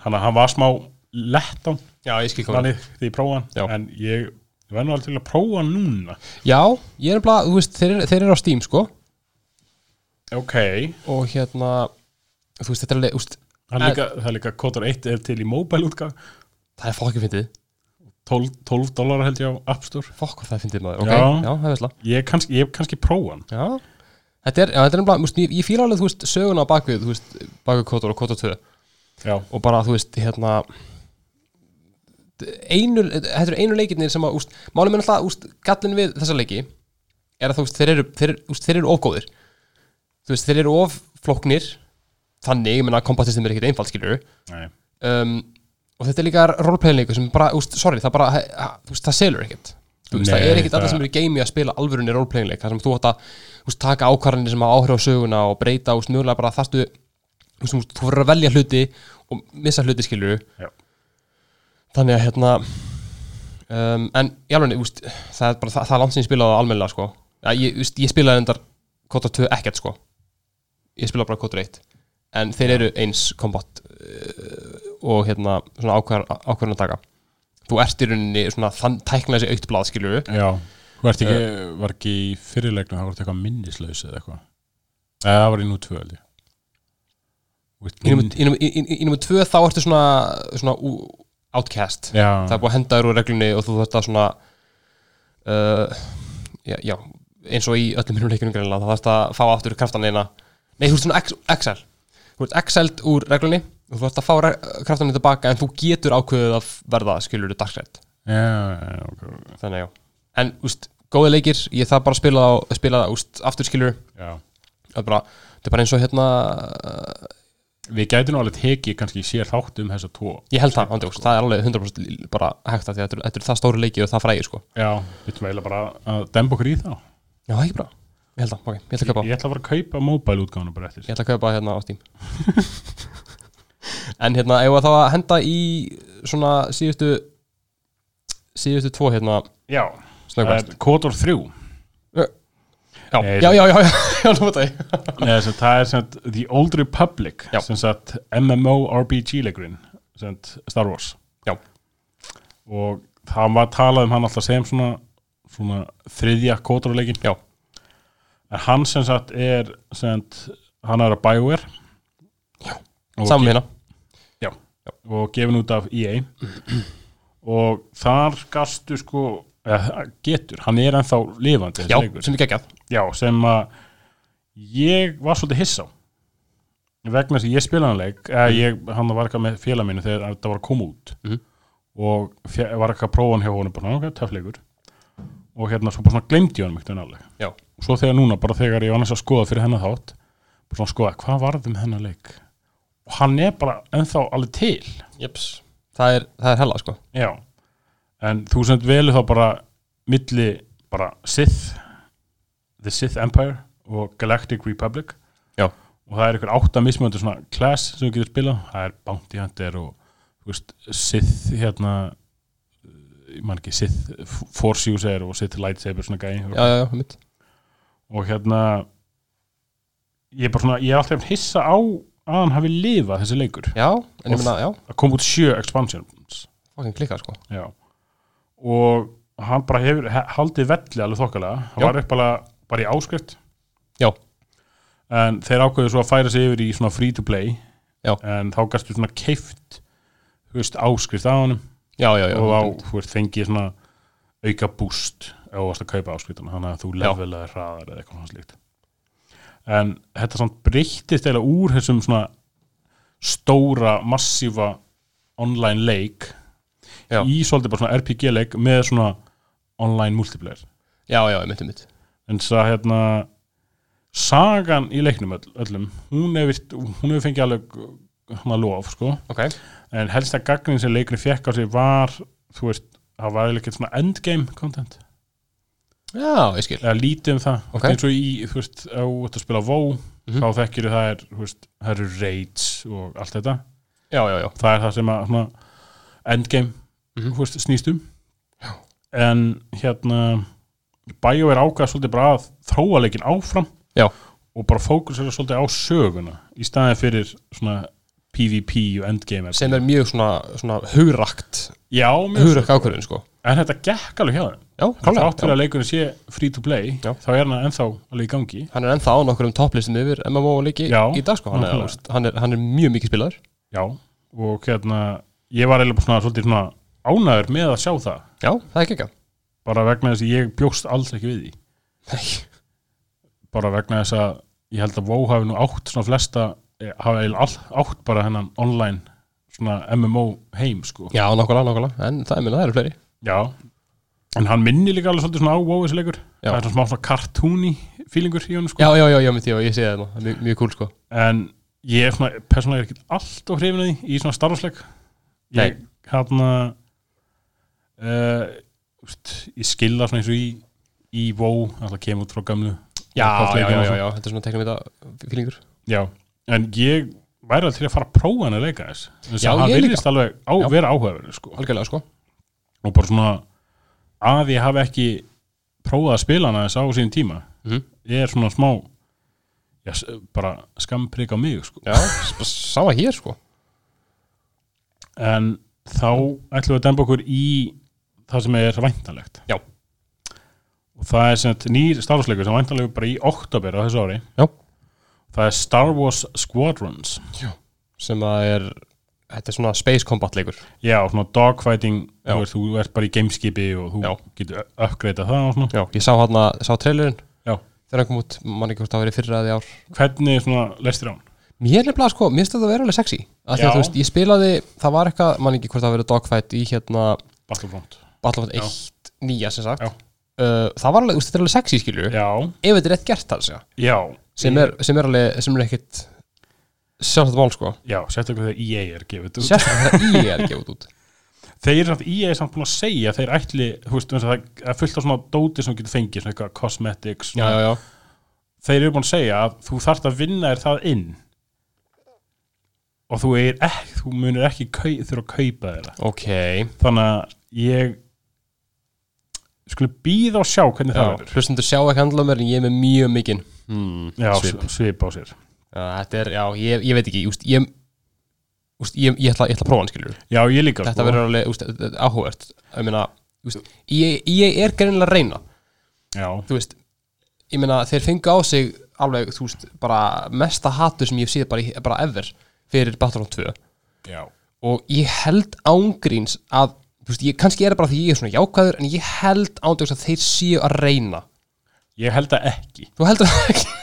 [SPEAKER 2] þannig að hann var smá lettan
[SPEAKER 1] já, ég skil komið
[SPEAKER 2] þannig þegar ég prófa hann
[SPEAKER 1] Já.
[SPEAKER 2] en ég verð nú alveg til að prófa hann núna
[SPEAKER 1] já, ég er bara, þú veist, þeir, þeir eru á Steam sko
[SPEAKER 2] ok,
[SPEAKER 1] og hérna, þú veist, þetta er leik, úst,
[SPEAKER 2] það
[SPEAKER 1] En-
[SPEAKER 2] er líka, það er líka Kotor 1 er til í mobile útgaf
[SPEAKER 1] það er fokkið fyndið
[SPEAKER 2] 12, 12 dólar held ég á App Store
[SPEAKER 1] fokk hvað það er fyndið maður, ok,
[SPEAKER 2] Já.
[SPEAKER 1] já, það er veistla
[SPEAKER 2] ég kannski, ég kannski prófa hann
[SPEAKER 1] já, þetta er, já, þetta er nefnilega, þú veist, ég, ég fíla alveg, þú veist, söguna á bakvið, þú veist, bakvið Kotor og Kotor 2
[SPEAKER 2] já,
[SPEAKER 1] og bara þú veist hérna einu, þetta eru einu leikirnir sem að úst, málum er alltaf úst, gallin við þessa leiki er að þú veist þeir eru, þeir, eru- úst, þeir eru ofgóðir þú veist þeir eru offlóknir þannig, ég menna kombatistin er ekkert einfalt skilur
[SPEAKER 2] nei,
[SPEAKER 1] um, og þetta er líka roleplayleiku sem bara, úst, sorry, það bara ha- ha- þú veist, það selur ekkert Þú veist,
[SPEAKER 2] Nei,
[SPEAKER 1] það er ekkert allir
[SPEAKER 2] það-
[SPEAKER 1] sem eru í gamei að spila alvörunni roleplayleik þar sem þú átt að þú veist, taka ákvarðanir sem að áhrif á söguna og breyta og smjögulega bara þarstu þú veist, þú veist, þú verður að velja hluti og missa hluti skilur
[SPEAKER 2] Já.
[SPEAKER 1] þannig að hérna um, en í alveg úst, það er bara það, það er langt sem ég spilaði á almennilega sko. ja, ég, úst, ég spilaði endar kota 2 ekkert sko ég spilaði bara kota 1 en þeir eru eins kombat uh, og hérna svona ákvarðan ákvarðan að taka þú ert í rauninni svona þann tækna þessi aukt blað skilur
[SPEAKER 2] já Var ekki, var ekki í fyrirleiknum, það var eitthvað minnislaus eða eitthvað? Eða það var í nú tvö, held ég. With
[SPEAKER 1] í
[SPEAKER 2] min-
[SPEAKER 1] nummer 2 þá ertu svona, svona ú- outcast
[SPEAKER 2] Já,
[SPEAKER 1] það er búið að henda þér úr reglunni og þú þarft að svona uh, já, já, eins og í öllum minnum leikunum greinlega, það þarft að fá aftur kraftanina, nei þú ert svona ex- exile þú ert exiled úr reglunni og þú þarft að fá re- kraftanina tilbaka en þú getur ákveðið að verða skilur þú darkrætt,
[SPEAKER 2] já, já, ok,
[SPEAKER 1] þannig já en úst, góði leikir, ég þarf bara að spila það og spila það, úst, aftur skilur
[SPEAKER 2] já.
[SPEAKER 1] það er bara, þetta er bara eins og hérna uh,
[SPEAKER 2] Við gætum nú alveg tekið kannski sér þátt um þessa tvo.
[SPEAKER 1] ég held það, andjóks, það er alveg 100% lí- bara hægt að því að þetta eru- þetta eru það stóri leiki og það frægir sko,
[SPEAKER 2] Já, við ætlum eiginlega bara að demba okkur í þá.
[SPEAKER 1] já, það er ekki bra ég held það, ok, ég ætla að
[SPEAKER 2] Ég,
[SPEAKER 1] köpa
[SPEAKER 2] ég ætla að fara að kaupa mobile útgáðuna bara eftir.
[SPEAKER 1] Ég ætla að kaupa hérna á Steam En hérna, ef að þá að henda í svona síðustu síðustu tvo hérna
[SPEAKER 2] Já, eh,
[SPEAKER 1] snöggvast
[SPEAKER 2] Kotor 3.
[SPEAKER 1] já,
[SPEAKER 2] Nei,
[SPEAKER 1] já, já, já, já, já, nú veit ég
[SPEAKER 2] Nei, sem, það er sem sagt The Old Republic,
[SPEAKER 1] Já.
[SPEAKER 2] sem sagt MMORPG leikurinn, sem sagt Star Wars.
[SPEAKER 1] Já.
[SPEAKER 2] Og það var talað um hann alltaf sem svona, svona þriðja kótarleikin.
[SPEAKER 1] Já.
[SPEAKER 2] En hann sem sagt er, sem sagt, hann er að BioWare. Já.
[SPEAKER 1] Saman hérna, Já.
[SPEAKER 2] og gefin út af EA og þar gastu sko eða, getur, hann er ennþá lifandi þessi
[SPEAKER 1] Já,
[SPEAKER 2] leikur.
[SPEAKER 1] sem er geggjað
[SPEAKER 2] já, sem að ég var svolítið hissa á. vegna þess að ég spilaði hann leik eða ég, hann var eitthvað með félag mínu þegar þetta var að koma út
[SPEAKER 1] Mhm.
[SPEAKER 2] og fe- var eitthvað að prófa hann hjá honum bara, ok, töfleikur og hérna svo bara svona glemdi ég hann mjög alveg
[SPEAKER 1] Já,
[SPEAKER 2] og svo þegar núna, bara þegar ég var næst að skoða fyrir hennar þátt, bara svona að skoða hvað varði með hennar leik og hann er bara ennþá alveg til
[SPEAKER 1] jöps Það er, það er hella, sko
[SPEAKER 2] já, en þú sem velu þá bara milli bara Sith The Sith Empire og Galactic Republic
[SPEAKER 1] Já.
[SPEAKER 2] og það er ykkur átta mismöndu svona class sem þú getur spilað, það er Bounty Hunter og þú veist, Sith hérna eh, ég man ekki, Sith Force User og Sith Lightsaber svona gæði
[SPEAKER 1] Já, já, já, mitt
[SPEAKER 2] og hérna ég er bara svona, ég er alltaf hissa á að hann hafi lifað þessi leikur
[SPEAKER 1] Já, en ég meina, já,
[SPEAKER 2] að kom út sjö expansions
[SPEAKER 1] fokkin klikkað, sko
[SPEAKER 2] já. og hann bara hefur he- haldið velli alveg þokkalega
[SPEAKER 1] Já.
[SPEAKER 2] hann var uppalega bara í áskrift
[SPEAKER 1] Já.
[SPEAKER 2] en þeir ákveðu svo að færa sig yfir í svona free to play
[SPEAKER 1] Já.
[SPEAKER 2] en þá gastu svona keift þú veist áskrift á honum
[SPEAKER 1] Já, já, já,
[SPEAKER 2] og á,
[SPEAKER 1] einmitt.
[SPEAKER 2] þú veist, fengið svona auka boost ef þú varst að kaupa áskriftina þannig að þú levelaði hraðar eða eitthvað svona slíkt en þetta samt breyttist eða úr þessum svona stóra, massífa online leik
[SPEAKER 1] Já.
[SPEAKER 2] í svolítið bara svona RPG leik með svona online multiplayer
[SPEAKER 1] já, já, mitt, mitt
[SPEAKER 2] en þess að hérna sagan í leiknum öll, öllum hún hefur, hún hefur fengið alveg hana lof sko
[SPEAKER 1] Ok,
[SPEAKER 2] en helsta gagninn sem leikurinn fekk á sig var þú veist, það var eiginlega ekkert svona endgame content,
[SPEAKER 1] já, ég skil
[SPEAKER 2] eða lítið um það
[SPEAKER 1] Ok.
[SPEAKER 2] eins og í, þú veist, ef þú ert að spila WoW
[SPEAKER 1] Mhm.
[SPEAKER 2] þá þekkir það er, þú veist, það eru raids og allt þetta,
[SPEAKER 1] Já, já, já,
[SPEAKER 2] það er það sem að svona, endgame,
[SPEAKER 1] Mhm.
[SPEAKER 2] þú veist, snýstum Já. en hérna Bæjó er ákvað svolítið bara að þróa leikin áfram
[SPEAKER 1] Já.
[SPEAKER 2] og bara fókusera svolítið á söguna í staðin fyrir svona PvP og endgame
[SPEAKER 1] sem er mjög svona, svona hugrakt
[SPEAKER 2] Já, mjög svo-
[SPEAKER 1] Hugrakk ákvörðun, sko
[SPEAKER 2] en þetta gekk alveg hjá þeim
[SPEAKER 1] Já,
[SPEAKER 2] Klálega, þátt fyrir
[SPEAKER 1] klálega, já
[SPEAKER 2] að leikurinn sé free to play
[SPEAKER 1] Já.
[SPEAKER 2] þá er hann ennþá alveg í gangi
[SPEAKER 1] Hann er ennþá á nokkur um topplistum yfir MMO og leiki
[SPEAKER 2] Já,
[SPEAKER 1] í dag, sko Hann er,
[SPEAKER 2] nákvæmlega.
[SPEAKER 1] úst, hann er, hann er mjög mikið spilaður
[SPEAKER 2] já. og hérna ég var eiginlega bara svona, svolítið svona ánæður með að sjá það
[SPEAKER 1] Já, það er geggjað
[SPEAKER 2] bara vegna þess að ég bjóst alls ekki við því
[SPEAKER 1] Nei,
[SPEAKER 2] bara vegna þess að ég held að WoW hafi nú átt svona flesta eh, hafi eiginlega all- átt bara hennan online svona MMO heim sko
[SPEAKER 1] Já, nákvæmlega, nákvæmlega, en það er minna, það eru fleiri
[SPEAKER 2] já. en hann minni líka alveg svolítið svona á WoW þessi leikur
[SPEAKER 1] Já.
[SPEAKER 2] það er svona smá svona cartoony feelingur í honum sko
[SPEAKER 1] Já, já, já, já, mitt, já, ég sé það nú, það er mjög, mjög kúl, sko
[SPEAKER 2] en ég er svona persónulega er ekki allt á hrifinu því í svona starfsleik ég hérna uh, úst, ég skilða svona eins og í í WoW, alltaf kemur út frá gamlu
[SPEAKER 1] Já, já, já,
[SPEAKER 2] Uppáhaldsleikjum og
[SPEAKER 1] já, já, hérna,
[SPEAKER 2] svona.
[SPEAKER 1] sko. þetta er svona teknum þetta fílingur
[SPEAKER 2] já, en ég væri alveg til að fara að prófa hann að leika þess þess
[SPEAKER 1] Já,
[SPEAKER 2] að hann
[SPEAKER 1] ég líka.
[SPEAKER 2] virðist alveg á,
[SPEAKER 1] Já.
[SPEAKER 2] vera áhugaverður sko.
[SPEAKER 1] Algjörlega, sko
[SPEAKER 2] og bara svona að ég hafi ekki prófað að spila hann að þess á sín tíma
[SPEAKER 1] Mhm.
[SPEAKER 2] ég er svona smá já, s- bara skamprik á mig sko.
[SPEAKER 1] Já, s- bara sama hér, sko
[SPEAKER 2] en þá ætlum við að demba okkur í það sem er væntanlegt
[SPEAKER 1] Já.
[SPEAKER 2] og það er sem sagt nýr Star Wars leikur sem er væntanlegur bara í oktober á þessu ári
[SPEAKER 1] Já.
[SPEAKER 2] það er Star Wars Squadrons
[SPEAKER 1] Sem að er, þetta er svona space combat leikur
[SPEAKER 2] já, svona dogfighting
[SPEAKER 1] Já.
[SPEAKER 2] Þú, veist, þú ert bara í gameskipi og þú
[SPEAKER 1] Já.
[SPEAKER 2] getur uppgreita það og svona
[SPEAKER 1] Já, ég sá hann að, sá trailerinn
[SPEAKER 2] Já.
[SPEAKER 1] Þegar hann kom út, mann ekki hvort það verið fyrra að því ár
[SPEAKER 2] hvernig svona lestir á hann
[SPEAKER 1] Mér nefnilega sko, mér stöðu að vera alveg sexy Af því
[SPEAKER 2] Já.
[SPEAKER 1] að þú veist, ég spilaði, það var eitthvað Man ekki hvort það hafi verið dogfight í hérna
[SPEAKER 2] Battlefront
[SPEAKER 1] Battlefront
[SPEAKER 2] Já.
[SPEAKER 1] 1 nýja sem sagt
[SPEAKER 2] Já.
[SPEAKER 1] uh, Það var alveg, þú veist, þetta er alveg sexy skilju
[SPEAKER 2] já,
[SPEAKER 1] Ef þetta er rétt gert þar segja
[SPEAKER 2] já
[SPEAKER 1] Sem er, sem er alveg, sem er ekkit Sjálfsagt mál sko
[SPEAKER 2] já, sérstaklega þegar EA er gefið út.
[SPEAKER 1] Sérstaklega þegar ég er gefið út
[SPEAKER 2] þeir eru samt, EA er samt búin að segja þeir ætli, þú veist, það er fullt af svona dóti sem þú getur fengið, svona eitthvað cosmetics
[SPEAKER 1] Já,
[SPEAKER 2] svona,
[SPEAKER 1] já, já
[SPEAKER 2] þeir eru búin að segja að þú þarft að vinna þér það inn og þú, er ekki, þú munir ekki kau, þurfa að kaupa þeirra
[SPEAKER 1] Ok,
[SPEAKER 2] þannig að ég skulle býða og sjá hvernig
[SPEAKER 1] já,
[SPEAKER 2] það verður
[SPEAKER 1] hlustundur sjá ekki handla mér en ég er með mjög mikinn hmm,
[SPEAKER 2] já,
[SPEAKER 1] svip.
[SPEAKER 2] svip. svip á sér
[SPEAKER 1] Já, þetta er, já, ég, ég veit ekki, úst, ég, úst, ég, ég, ætla, ég ætla að prófa hann skiljur
[SPEAKER 2] já, ég líka sko.
[SPEAKER 1] Þetta verður alveg, úst, þetta er áhugavert Ég meina, úst, ég, ég er greinilega að reyna
[SPEAKER 2] já,
[SPEAKER 1] Þú veist, ég meina, þeir fengu á sig alveg, þú veist, bara mesta hatu sem ég hef séð bara, í- bara ever fyrir Battlefront 2
[SPEAKER 2] já,
[SPEAKER 1] og ég held ángríns að, þú veist, ég, kannski er það bara því ég er svona jákvæður, en ég held ángríns að þeir séu að reyna
[SPEAKER 2] Ég held það ekki
[SPEAKER 1] Þú heldur það ekki?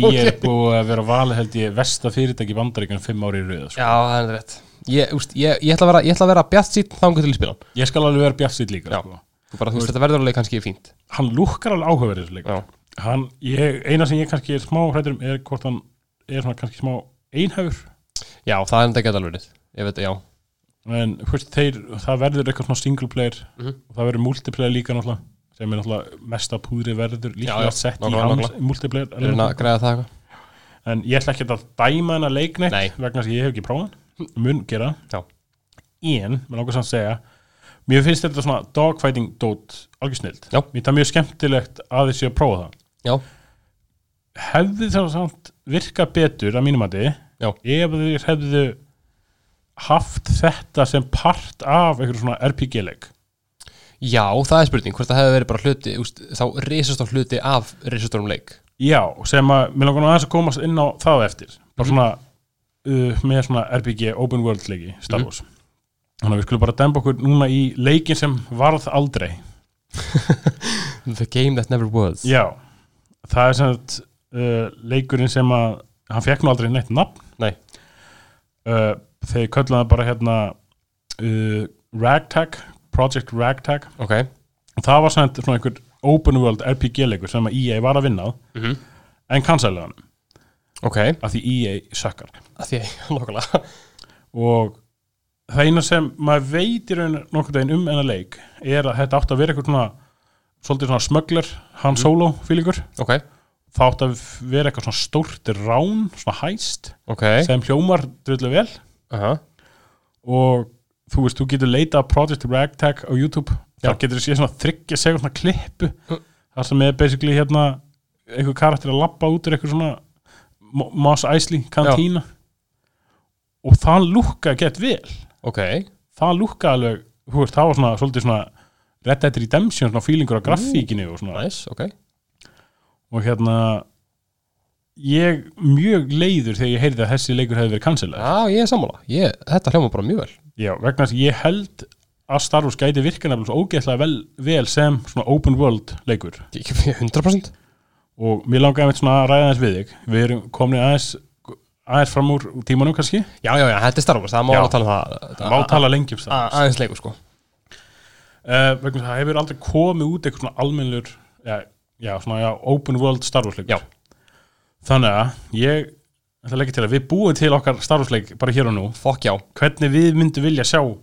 [SPEAKER 2] Ég er búið að vera á vali held ég Vesta fyrirtæki bandaríkjum fimm ári í rauða sko.
[SPEAKER 1] Já, það er rétt Ég, úst, ég, ég ætla að vera, ég ætla að vera bjart sýtt þangu til í spilan
[SPEAKER 2] Ég skal alveg vera bjart líka
[SPEAKER 1] Já.
[SPEAKER 2] sko.
[SPEAKER 1] Þú bara, þú veist, þetta verður alveg kannski fínt
[SPEAKER 2] Hann lúkkar alveg áhugaverðis líka
[SPEAKER 1] Já,
[SPEAKER 2] hann, ég, Eina sem ég kannski er smá hrættur um er hvort hann er svona kannski smá einhæfur
[SPEAKER 1] já það er þetta ekki alveg verið Ég veit, já,
[SPEAKER 2] en hvort þeir, það verður eitthvað svona single player
[SPEAKER 1] Mhm.
[SPEAKER 2] og það verður multiplayer líka náttúrulega sem er náttúrulega mesta púðri verður líka
[SPEAKER 1] Já, já,
[SPEAKER 2] sett í
[SPEAKER 1] nákvæmlega,
[SPEAKER 2] hans
[SPEAKER 1] nákvæmlega.
[SPEAKER 2] multiplayer
[SPEAKER 1] er hérna að græða það eitthvað
[SPEAKER 2] en ég ætla ekki að dæma hennar leikneitt
[SPEAKER 1] Nei.
[SPEAKER 2] vegna þess að ég hef ekki prófað hann. mun gera
[SPEAKER 1] Já.
[SPEAKER 2] en, mér langar samt að segja mér finnst þetta svona dogfighting dot algjör snild,
[SPEAKER 1] Já.
[SPEAKER 2] mér finnst það mjög skemmtilegt að þið séu að prófa það
[SPEAKER 1] Já,
[SPEAKER 2] hefði það samt virka betur að mínum að
[SPEAKER 1] Já.
[SPEAKER 2] ef þið hefðu haft þetta sem part af einhverjum svona RPG-leik
[SPEAKER 1] já, það er spurning Hvort það hefur verið bara hluti, úst, þá risastór hluti af risastórum leik
[SPEAKER 2] Já, sem að mér langar nú aðeins að komast inn á það á eftir bara svona uh, með svona RPG open world leiki Star Wars þannig að við skulum bara demba okkur núna í leikin sem varð aldrei
[SPEAKER 1] The game that never was
[SPEAKER 2] Já, það er sem sagt uh, leikurinn sem að hann fekk nú aldrei neitt nafn
[SPEAKER 1] Nei.
[SPEAKER 2] uh, þeir kölluðu það bara hérna uh, Ragtag Project Ragtag
[SPEAKER 1] Ok,
[SPEAKER 2] og það var sem sagt svona einhver open world RPG leikur sem að EA var að vinna að
[SPEAKER 1] Mhm.
[SPEAKER 2] en cancelaði hann
[SPEAKER 1] ok
[SPEAKER 2] af því E EA sökkar
[SPEAKER 1] Af Því, nokkulega
[SPEAKER 2] og það eina sem maður veit í raun nokkuð daginn um enna leik er að þetta átti að vera eitthvað svona svolítið svona smögglar, hann
[SPEAKER 1] Mm.
[SPEAKER 2] solo fílingur
[SPEAKER 1] Ok,
[SPEAKER 2] það átti að vera eitthvað svona stórt rán, svona hæst
[SPEAKER 1] ok
[SPEAKER 2] sem hljómar drullu vel
[SPEAKER 1] Aha.
[SPEAKER 2] og þú veist, þú getur leita að Project Ragtag á YouTube
[SPEAKER 1] Já. Mm.
[SPEAKER 2] þar getur þú séð svona þryggja segja svona klippu þar sem er basically hérna einhver karakter að labba út úr eitthvað svona Mo- Mos Eisley kantína og það lúkka gett vel
[SPEAKER 1] Ok,
[SPEAKER 2] það lúkka alveg, þú veist, það var svona svolítið svona Red Dead Redemption, svona fílingur á grafíkinu og svona,
[SPEAKER 1] nice, ok
[SPEAKER 2] og hérna ég mjög leiður þegar ég heyrði að þessi leikur hefði verið cancelað,
[SPEAKER 1] Já, ég er sammála, ég, þetta hljóma bara mjög vel
[SPEAKER 2] já, vegna þess að ég held að Star Wars gæti virka nefnilega svo ógeðslega vel, vel sem svona open world leikur,
[SPEAKER 1] Ég- ég- 100%
[SPEAKER 2] og mér langaði með svona að ræða aðeins við þig, við erum komin aðeins aðeins fram úr tímanum kannski
[SPEAKER 1] Já, já, já, þetta er Star Wars, það má
[SPEAKER 2] Já.
[SPEAKER 1] alveg tala um það
[SPEAKER 2] má tala lengi um það,
[SPEAKER 1] A- aðeins leikur sko
[SPEAKER 2] uh, vegna þess að það hefur aldrei komið út eitthvað svona almennlur já, já, svona já, open world Star Wars leikur
[SPEAKER 1] Já.
[SPEAKER 2] þannig að ég ætla að leggja til að við búum til okkar Star Wars leik bara hér og nú,
[SPEAKER 1] Fokk já,
[SPEAKER 2] hvernig við myndum vilja sjá og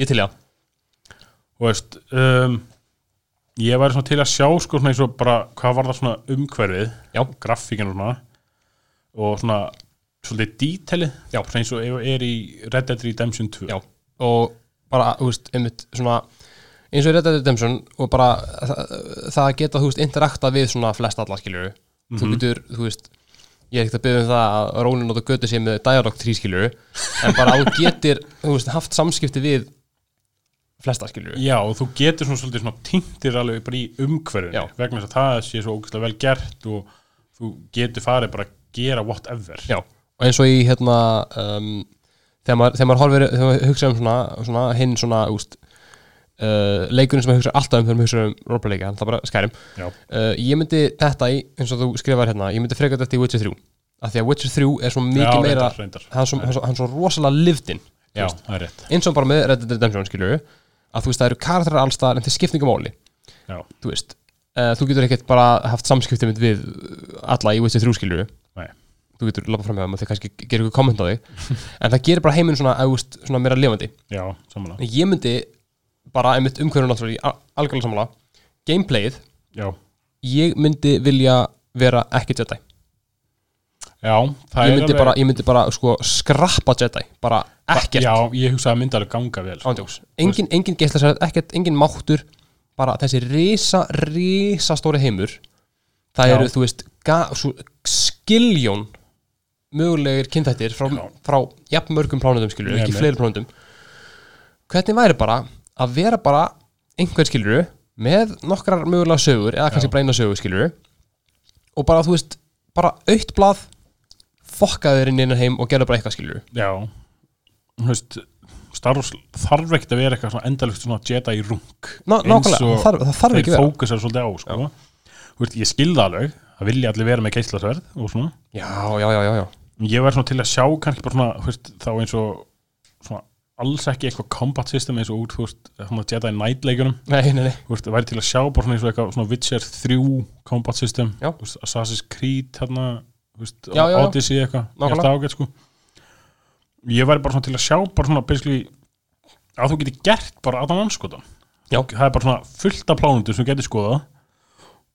[SPEAKER 1] ég til ég
[SPEAKER 2] veist um, ég væri svona til að sjá sko svona eins og bara hvað var það svona umhverfið
[SPEAKER 1] Já.
[SPEAKER 2] grafíkin og svona og svona svolítið dítelið já. svona eins og ef- er í Red Dead Redemption 2
[SPEAKER 1] Já, og bara, þú veist, einmitt svona eins og í Red Dead Redemption og bara það, það geta, þú veist, interakta við svona flest alla skiljuru þú getur, þú veist ég er ekkert að byggja um það að Rónin og það götu sér með Dialog 3 skiljuru en bara að þú getir, þú veist, haft samskipti við flesta skiljuru
[SPEAKER 2] Já, og þú getur svona svolítið svona tindir alveg bara í umhverfinu
[SPEAKER 1] Já.
[SPEAKER 2] vegna þess að það sé svo ógæslega vel gert og þú getur farið bara að gera whatever
[SPEAKER 1] Já, og eins og í hérna um, þegar maður, þegar maður horfir þegar maður hugsa um svona, svona hinn svona úst, uh, leikurinn sem maður hugsa alltaf um þegar maður hugsa um roleplay-leika, hann það bara skærum
[SPEAKER 2] Já.
[SPEAKER 1] uh, ég myndi þetta í, eins og þú skrifar hérna ég myndi frekar þetta í Witcher 3 af því að Witcher 3 er svo mikið
[SPEAKER 2] Já,
[SPEAKER 1] meira
[SPEAKER 2] reyndar, reyndar.
[SPEAKER 1] hann svo, hann, svo, hann svo rosalega livdinn
[SPEAKER 2] Já, það er rétt
[SPEAKER 1] eins og bara með Red Dead Redemption skilur að þú veist það eru karakterar allstaðar en þeir skipningamáli
[SPEAKER 2] Já,
[SPEAKER 1] þú veist uh, þú getur ekkert bara haft samskipti mitt við alla í Witcher 3 skilur
[SPEAKER 2] nei
[SPEAKER 1] þú getur lappa fram með það og þeir kannski gerir ykkur komment á þig en það gerir bara heiminn svona, águst, svona meira lifandi
[SPEAKER 2] Já, samanlega
[SPEAKER 1] en ég myndi bara einmitt umhverjum náttúrulega algjörlega sammála gameplayið,
[SPEAKER 2] Já,
[SPEAKER 1] ég myndi vilja vera ekki Jedi
[SPEAKER 2] já
[SPEAKER 1] ég
[SPEAKER 2] það er
[SPEAKER 1] myndi, bara, ég myndi bara sko skrappa Jedi bara ekkert,
[SPEAKER 2] Já, ég hugsa að myndi alveg ganga vel sko.
[SPEAKER 1] ándjóks engin, engin geislasærið, ekkert, engin máttur bara þessi risa, risa stóri heimur það
[SPEAKER 2] Já.
[SPEAKER 1] eru, þú veist, ga, svo, skiljón mögulegir kynþættir frá,
[SPEAKER 2] Já.
[SPEAKER 1] frá jafn mörgum plánutum skilur,
[SPEAKER 2] Ég
[SPEAKER 1] ekki
[SPEAKER 2] með.
[SPEAKER 1] fleiri plánutum hvernig væri bara að vera bara einhver skilur með nokkrar mögulega sögur eða kannski
[SPEAKER 2] Já.
[SPEAKER 1] bara eina sögur skilur og bara, þú veist, bara aukt blað fokkaður inn innan heim og gerðu bara eitthvað skilur
[SPEAKER 2] Já, þú veist Star Wars þarf ekkert að vera eitthvað svona endalegt svona Jedi í rung
[SPEAKER 1] Ná- nákvæmlega, það þarf- það þarf ekki að
[SPEAKER 2] þeir
[SPEAKER 1] vera.
[SPEAKER 2] fókusar svolítið á sko. Þú veist, ég skilða alveg það vilja allir vera með geislasverð og svona
[SPEAKER 1] já, já, já, já, já.
[SPEAKER 2] ég væri svona til að sjá kannski bara svona þú veist, þá eins og svona alls ekki eitthvað combat system eins og út þú veist, svona Jedi Knight leikunum
[SPEAKER 1] Nei, nei, nei
[SPEAKER 2] þú veist, væri til að sjá bara svona eins og eitthvað svona Witcher 3 combat system
[SPEAKER 1] Já.
[SPEAKER 2] Þú veist, Assassin's Creed hérna, þú veist,
[SPEAKER 1] Já, já, já.
[SPEAKER 2] Odyssey eitthvað Ég
[SPEAKER 1] Nákvæmlega.
[SPEAKER 2] held það ágætt, sko. ég væri bara svona til að sjá bara svona basically að þú getur gert bara að það anskotan
[SPEAKER 1] Já.
[SPEAKER 2] það er bara svona fullt af plánundum sem þú getur skoðað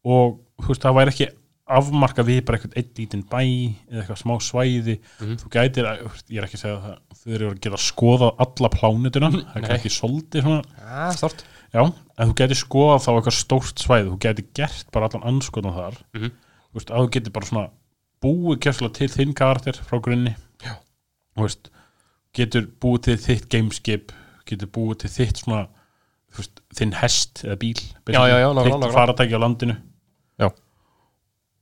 [SPEAKER 2] og þú veist, það væri ekki afmarka við bara eitthvað einn lítinn bæ eða eitthvað smá svæði
[SPEAKER 1] Mhm.
[SPEAKER 2] þú gætir, að, þú veist, ég er ekki að segja það þau eru að geta skoðað alla plánutuna það er
[SPEAKER 1] Mhm. Nei.
[SPEAKER 2] kannski svolítið svona
[SPEAKER 1] Já, Ah, stort
[SPEAKER 2] Já, en þú getur skoðað þá eitthvað stórt svæð þú getur gert bara allan anskotan þar
[SPEAKER 1] Mhm.
[SPEAKER 2] þú veist, að þú getur bara svona búið kjörslega til þinn karakter frá grunni
[SPEAKER 1] Já.
[SPEAKER 2] þú veist, getur búið til þitt gameskip getur búið til þitt svona þú veist, þinn hest eða bíl basically,
[SPEAKER 1] já, já, nákvæmlega,
[SPEAKER 2] þitt
[SPEAKER 1] nákvæmlega.
[SPEAKER 2] faratæki á landinu
[SPEAKER 1] Já.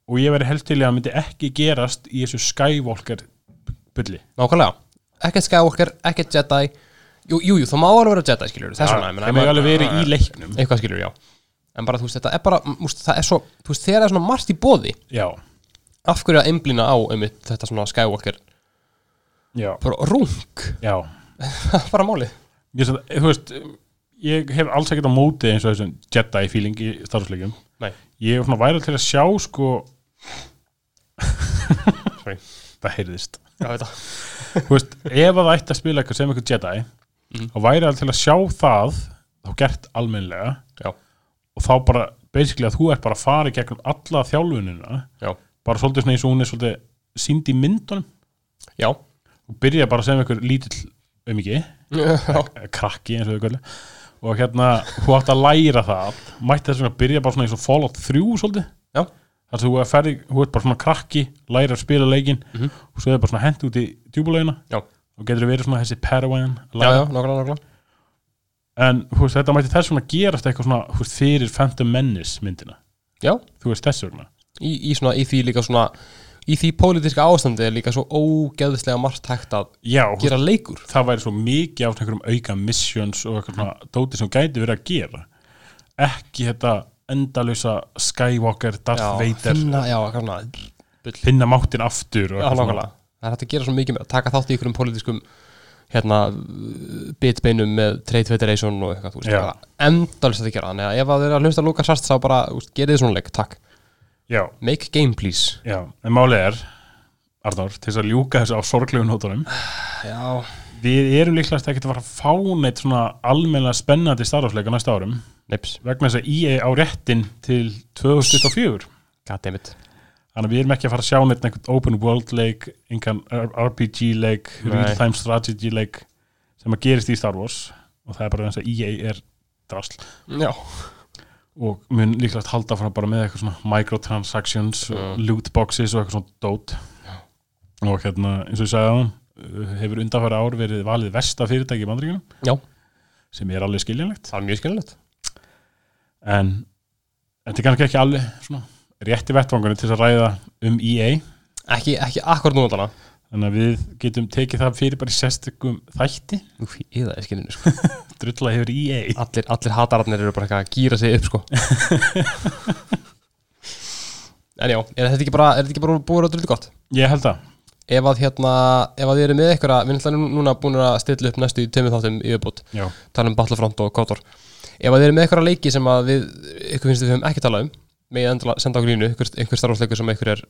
[SPEAKER 2] og ég verið helst til í að það myndi ekki gerast í þessu Skywalker bylli
[SPEAKER 1] Nákvæmlega, ekkert Skywalker, ekkert Jedi Jú, jú, jú, þá má alveg vera Jedi, skiljur Þess vegna, ég meina, eh,
[SPEAKER 2] það með alveg verið í leiknum
[SPEAKER 1] Eitthvað skiljur, já En bara, þú veist, þetta er bara, m- úst, það er svo Þú veist, þegar það er svona margt í bóði
[SPEAKER 2] já,
[SPEAKER 1] Af hverju að einblína á, einmitt, þetta svona Skywalker
[SPEAKER 2] já,
[SPEAKER 1] Bara rung,
[SPEAKER 2] já
[SPEAKER 1] það er bara málið
[SPEAKER 2] ég, sagði, þú veist, ég hef alls ekkert á móti eins og þessum Jedi feeling í starfsleikjum
[SPEAKER 1] Nei,
[SPEAKER 2] ég er svona væri til að sjá sko
[SPEAKER 1] sorry
[SPEAKER 2] það heyrðist
[SPEAKER 1] Já, þetta
[SPEAKER 2] Þú veist, ef að það ætti að spila eitthvað sem eitthvað Jedi
[SPEAKER 1] Mhm.
[SPEAKER 2] þá væri alveg til að sjá það þá gert almennlega
[SPEAKER 1] Já,
[SPEAKER 2] og þá bara, basically að þú ert bara að fara í gegnum alla þjálfunina
[SPEAKER 1] já,
[SPEAKER 2] bara svolítið svona eins og hún er svolítið sínd í myndunum
[SPEAKER 1] já
[SPEAKER 2] og byrja bara sem eitthvað lítill um ekki
[SPEAKER 1] Já,
[SPEAKER 2] eða krakki eins og þau kvöldi og hérna, þú átt að læra það mætti þess vegna að byrja bara svona eins og Fallout 3 svolítið,
[SPEAKER 1] já,
[SPEAKER 2] þar sem þú er ferði þú ert bara svona krakki, læra að spila leikin
[SPEAKER 1] Mhm.
[SPEAKER 2] og svo er bara svona hent út í djúbulögina
[SPEAKER 1] já,
[SPEAKER 2] og getur verið svona þessi Parawan
[SPEAKER 1] já, já, nákvæmlega, nákvæmlega
[SPEAKER 2] en þú veist, þetta mætti þess vegna gerast eitthvað svona þú veist, fyrir Phantom Menace myndina
[SPEAKER 1] Já,
[SPEAKER 2] þú veist þess vegna
[SPEAKER 1] í, í, svona, í því líka svona Í því pólitíska ástandi er líka svo ógeðslega margt hægt að
[SPEAKER 2] Já, þú veist,
[SPEAKER 1] gera leikur
[SPEAKER 2] það væri svo mikið á svona einhverjum auka missions og eitthvað svona dóti sem gæti verið að gera ekki þetta endalösa Skywalker, Darth Vader
[SPEAKER 1] finna, já, eitthvað svona bull.
[SPEAKER 2] finna máttin aftur og
[SPEAKER 1] Já,
[SPEAKER 2] eitthvað
[SPEAKER 1] nákvæmlega Það er hægt að gera svo mikið með að taka þátt í einhverjum pólitískum hérna, bitbeinum með Trade Federation og eitthvað, þú veist,
[SPEAKER 2] Já.
[SPEAKER 1] bara endalist að gera þannig að ef að þeir eru að hlusta að Lukas Hart þá bara, þú veist, gerið þið svona leik, takk
[SPEAKER 2] Já,
[SPEAKER 1] Make game, please
[SPEAKER 2] já, en málið er Arnór, til þess að ljúka þessu á sorglegu nótunum
[SPEAKER 1] Já,
[SPEAKER 2] Við erum líklegast ekkert að fara að fá neitt svona almennilega spennandi starfsleika næsta árum
[SPEAKER 1] neips,
[SPEAKER 2] vegna þess að EA á réttin til 2004
[SPEAKER 1] goddammit
[SPEAKER 2] Þannig að við erum ekki að fara að sjá neitt einhvern open world leik, einhvern RPG leik,
[SPEAKER 1] Nei.
[SPEAKER 2] real time strategy leik sem að gerist í Star Wars og það er bara þess að EA er drasl
[SPEAKER 1] Já,
[SPEAKER 2] og mun líklegast halda frá bara með eitthvað svona microtransactions og loot boxes og eitthvað svona dót og hérna eins og ég sagði á hefur undanfæra ár verið valið versta fyrirtæki í bandringunum
[SPEAKER 1] já,
[SPEAKER 2] sem er alveg skiljanlegt
[SPEAKER 1] það er mjög skiljanlegt
[SPEAKER 2] en þetta er kannski ekki alveg svona rétti vettvangunni til þess að ræða um EA
[SPEAKER 1] Ekki, ekki akkur núna þarna
[SPEAKER 2] þannig að við getum tekið það fyrir bara í sérstökum þætti
[SPEAKER 1] Úf, í það er skiljunni, sko
[SPEAKER 2] drulla hefur E EA
[SPEAKER 1] Allir, allir hatararnir eru bara eitthvað að gýra sig upp, sko En já, er þetta ekki bara, er þetta ekki bara búið að drullu gott?
[SPEAKER 2] ég held það
[SPEAKER 1] ef að hérna, ef að þið eru með einhverja við erum alltaf núna búin að stilla upp næstu í tömmu þáttum í viðbútt,
[SPEAKER 2] Já.
[SPEAKER 1] tala um Battlefront og Kotor ef að þið eru með einhverja leiki sem að við ykkur finnst við höfum ekki talað um með endala senda okkur línu, einhver, einhver starfsleikur sem einhver er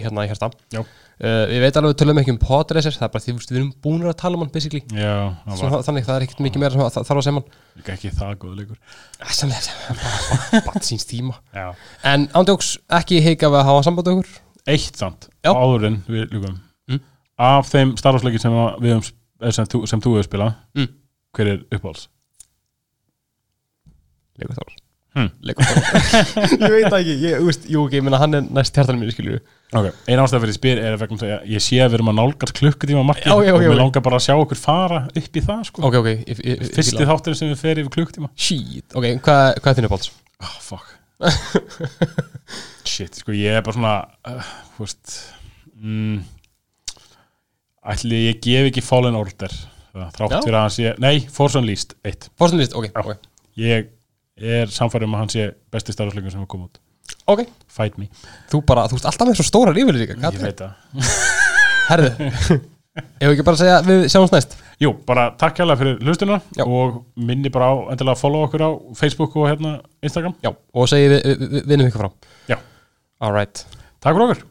[SPEAKER 1] hérna í hérta
[SPEAKER 2] Já.
[SPEAKER 1] uh, við veit alveg að við tölum ekki um Podracer það er bara því þú veist, við erum búin að tala um hann basically
[SPEAKER 2] Já, það var
[SPEAKER 1] Svo, þannig það er ekkert mikið meira sem að- það þarf að segja um mann
[SPEAKER 2] líka ekki það góð leikur
[SPEAKER 1] sannlega, bara síns tíma
[SPEAKER 2] Já.
[SPEAKER 1] en ándjóks, ekki heika við að hafa samband við okkur
[SPEAKER 2] eitt samt
[SPEAKER 1] Já.
[SPEAKER 2] áður en við ljúkum
[SPEAKER 1] Mm.
[SPEAKER 2] af þeim starfsleikin sem, að við höfum sp- eh, sem, þú- sem þú hefur spilað
[SPEAKER 1] Mm.
[SPEAKER 2] hver er uppáhalds?
[SPEAKER 1] Leikur Þór
[SPEAKER 2] Hmm.
[SPEAKER 1] Leikur Þór Ég veit það ekki, ég, úst, jú, ok, ég minna hann er næst hjartanum mínu, skilju
[SPEAKER 2] Okay. eina ástæða fyrir ég spyr er að vegna þess að ég sé að við erum að nálgast klukkutíma marki
[SPEAKER 1] Já, já,
[SPEAKER 2] og
[SPEAKER 1] já,
[SPEAKER 2] við
[SPEAKER 1] já.
[SPEAKER 2] langar bara að sjá okkur fara upp í það sko.
[SPEAKER 1] Ok, ok, ég, ég, ég
[SPEAKER 2] fyrsti
[SPEAKER 1] fíla.
[SPEAKER 2] þátturinn sem við fer yfir klukkutíma
[SPEAKER 1] Shit, ok, hvað hva er þínu bóls?
[SPEAKER 2] Ah, fuck Shit, sko, ég er bara svona uh, Hvort mm, Ætli ég gef ekki Fallen Order það
[SPEAKER 1] Já.
[SPEAKER 2] þrátt fyrir að hann sé, nei, Forson Least eitt,
[SPEAKER 1] Forstunlist, ok,
[SPEAKER 2] Já.
[SPEAKER 1] ok
[SPEAKER 2] ég er samfærum að hann sé besti starfsleikur sem hefur komið út
[SPEAKER 1] Ok,
[SPEAKER 2] Fight me,
[SPEAKER 1] þú bara, þú ert alltaf með svo stóra rífurlíka
[SPEAKER 2] ég veit það
[SPEAKER 1] Herðu, ef ekki bara að segja við sjáumst næst
[SPEAKER 2] Jú, bara takk hérlega fyrir hlustuna
[SPEAKER 1] Já.
[SPEAKER 2] og minni bara á, endilega að follow okkur á Facebook og hérna Instagram,
[SPEAKER 1] Já, og segi við, við, við, vinnum ykkur frá
[SPEAKER 2] já,
[SPEAKER 1] All right
[SPEAKER 2] takk fyrir okkur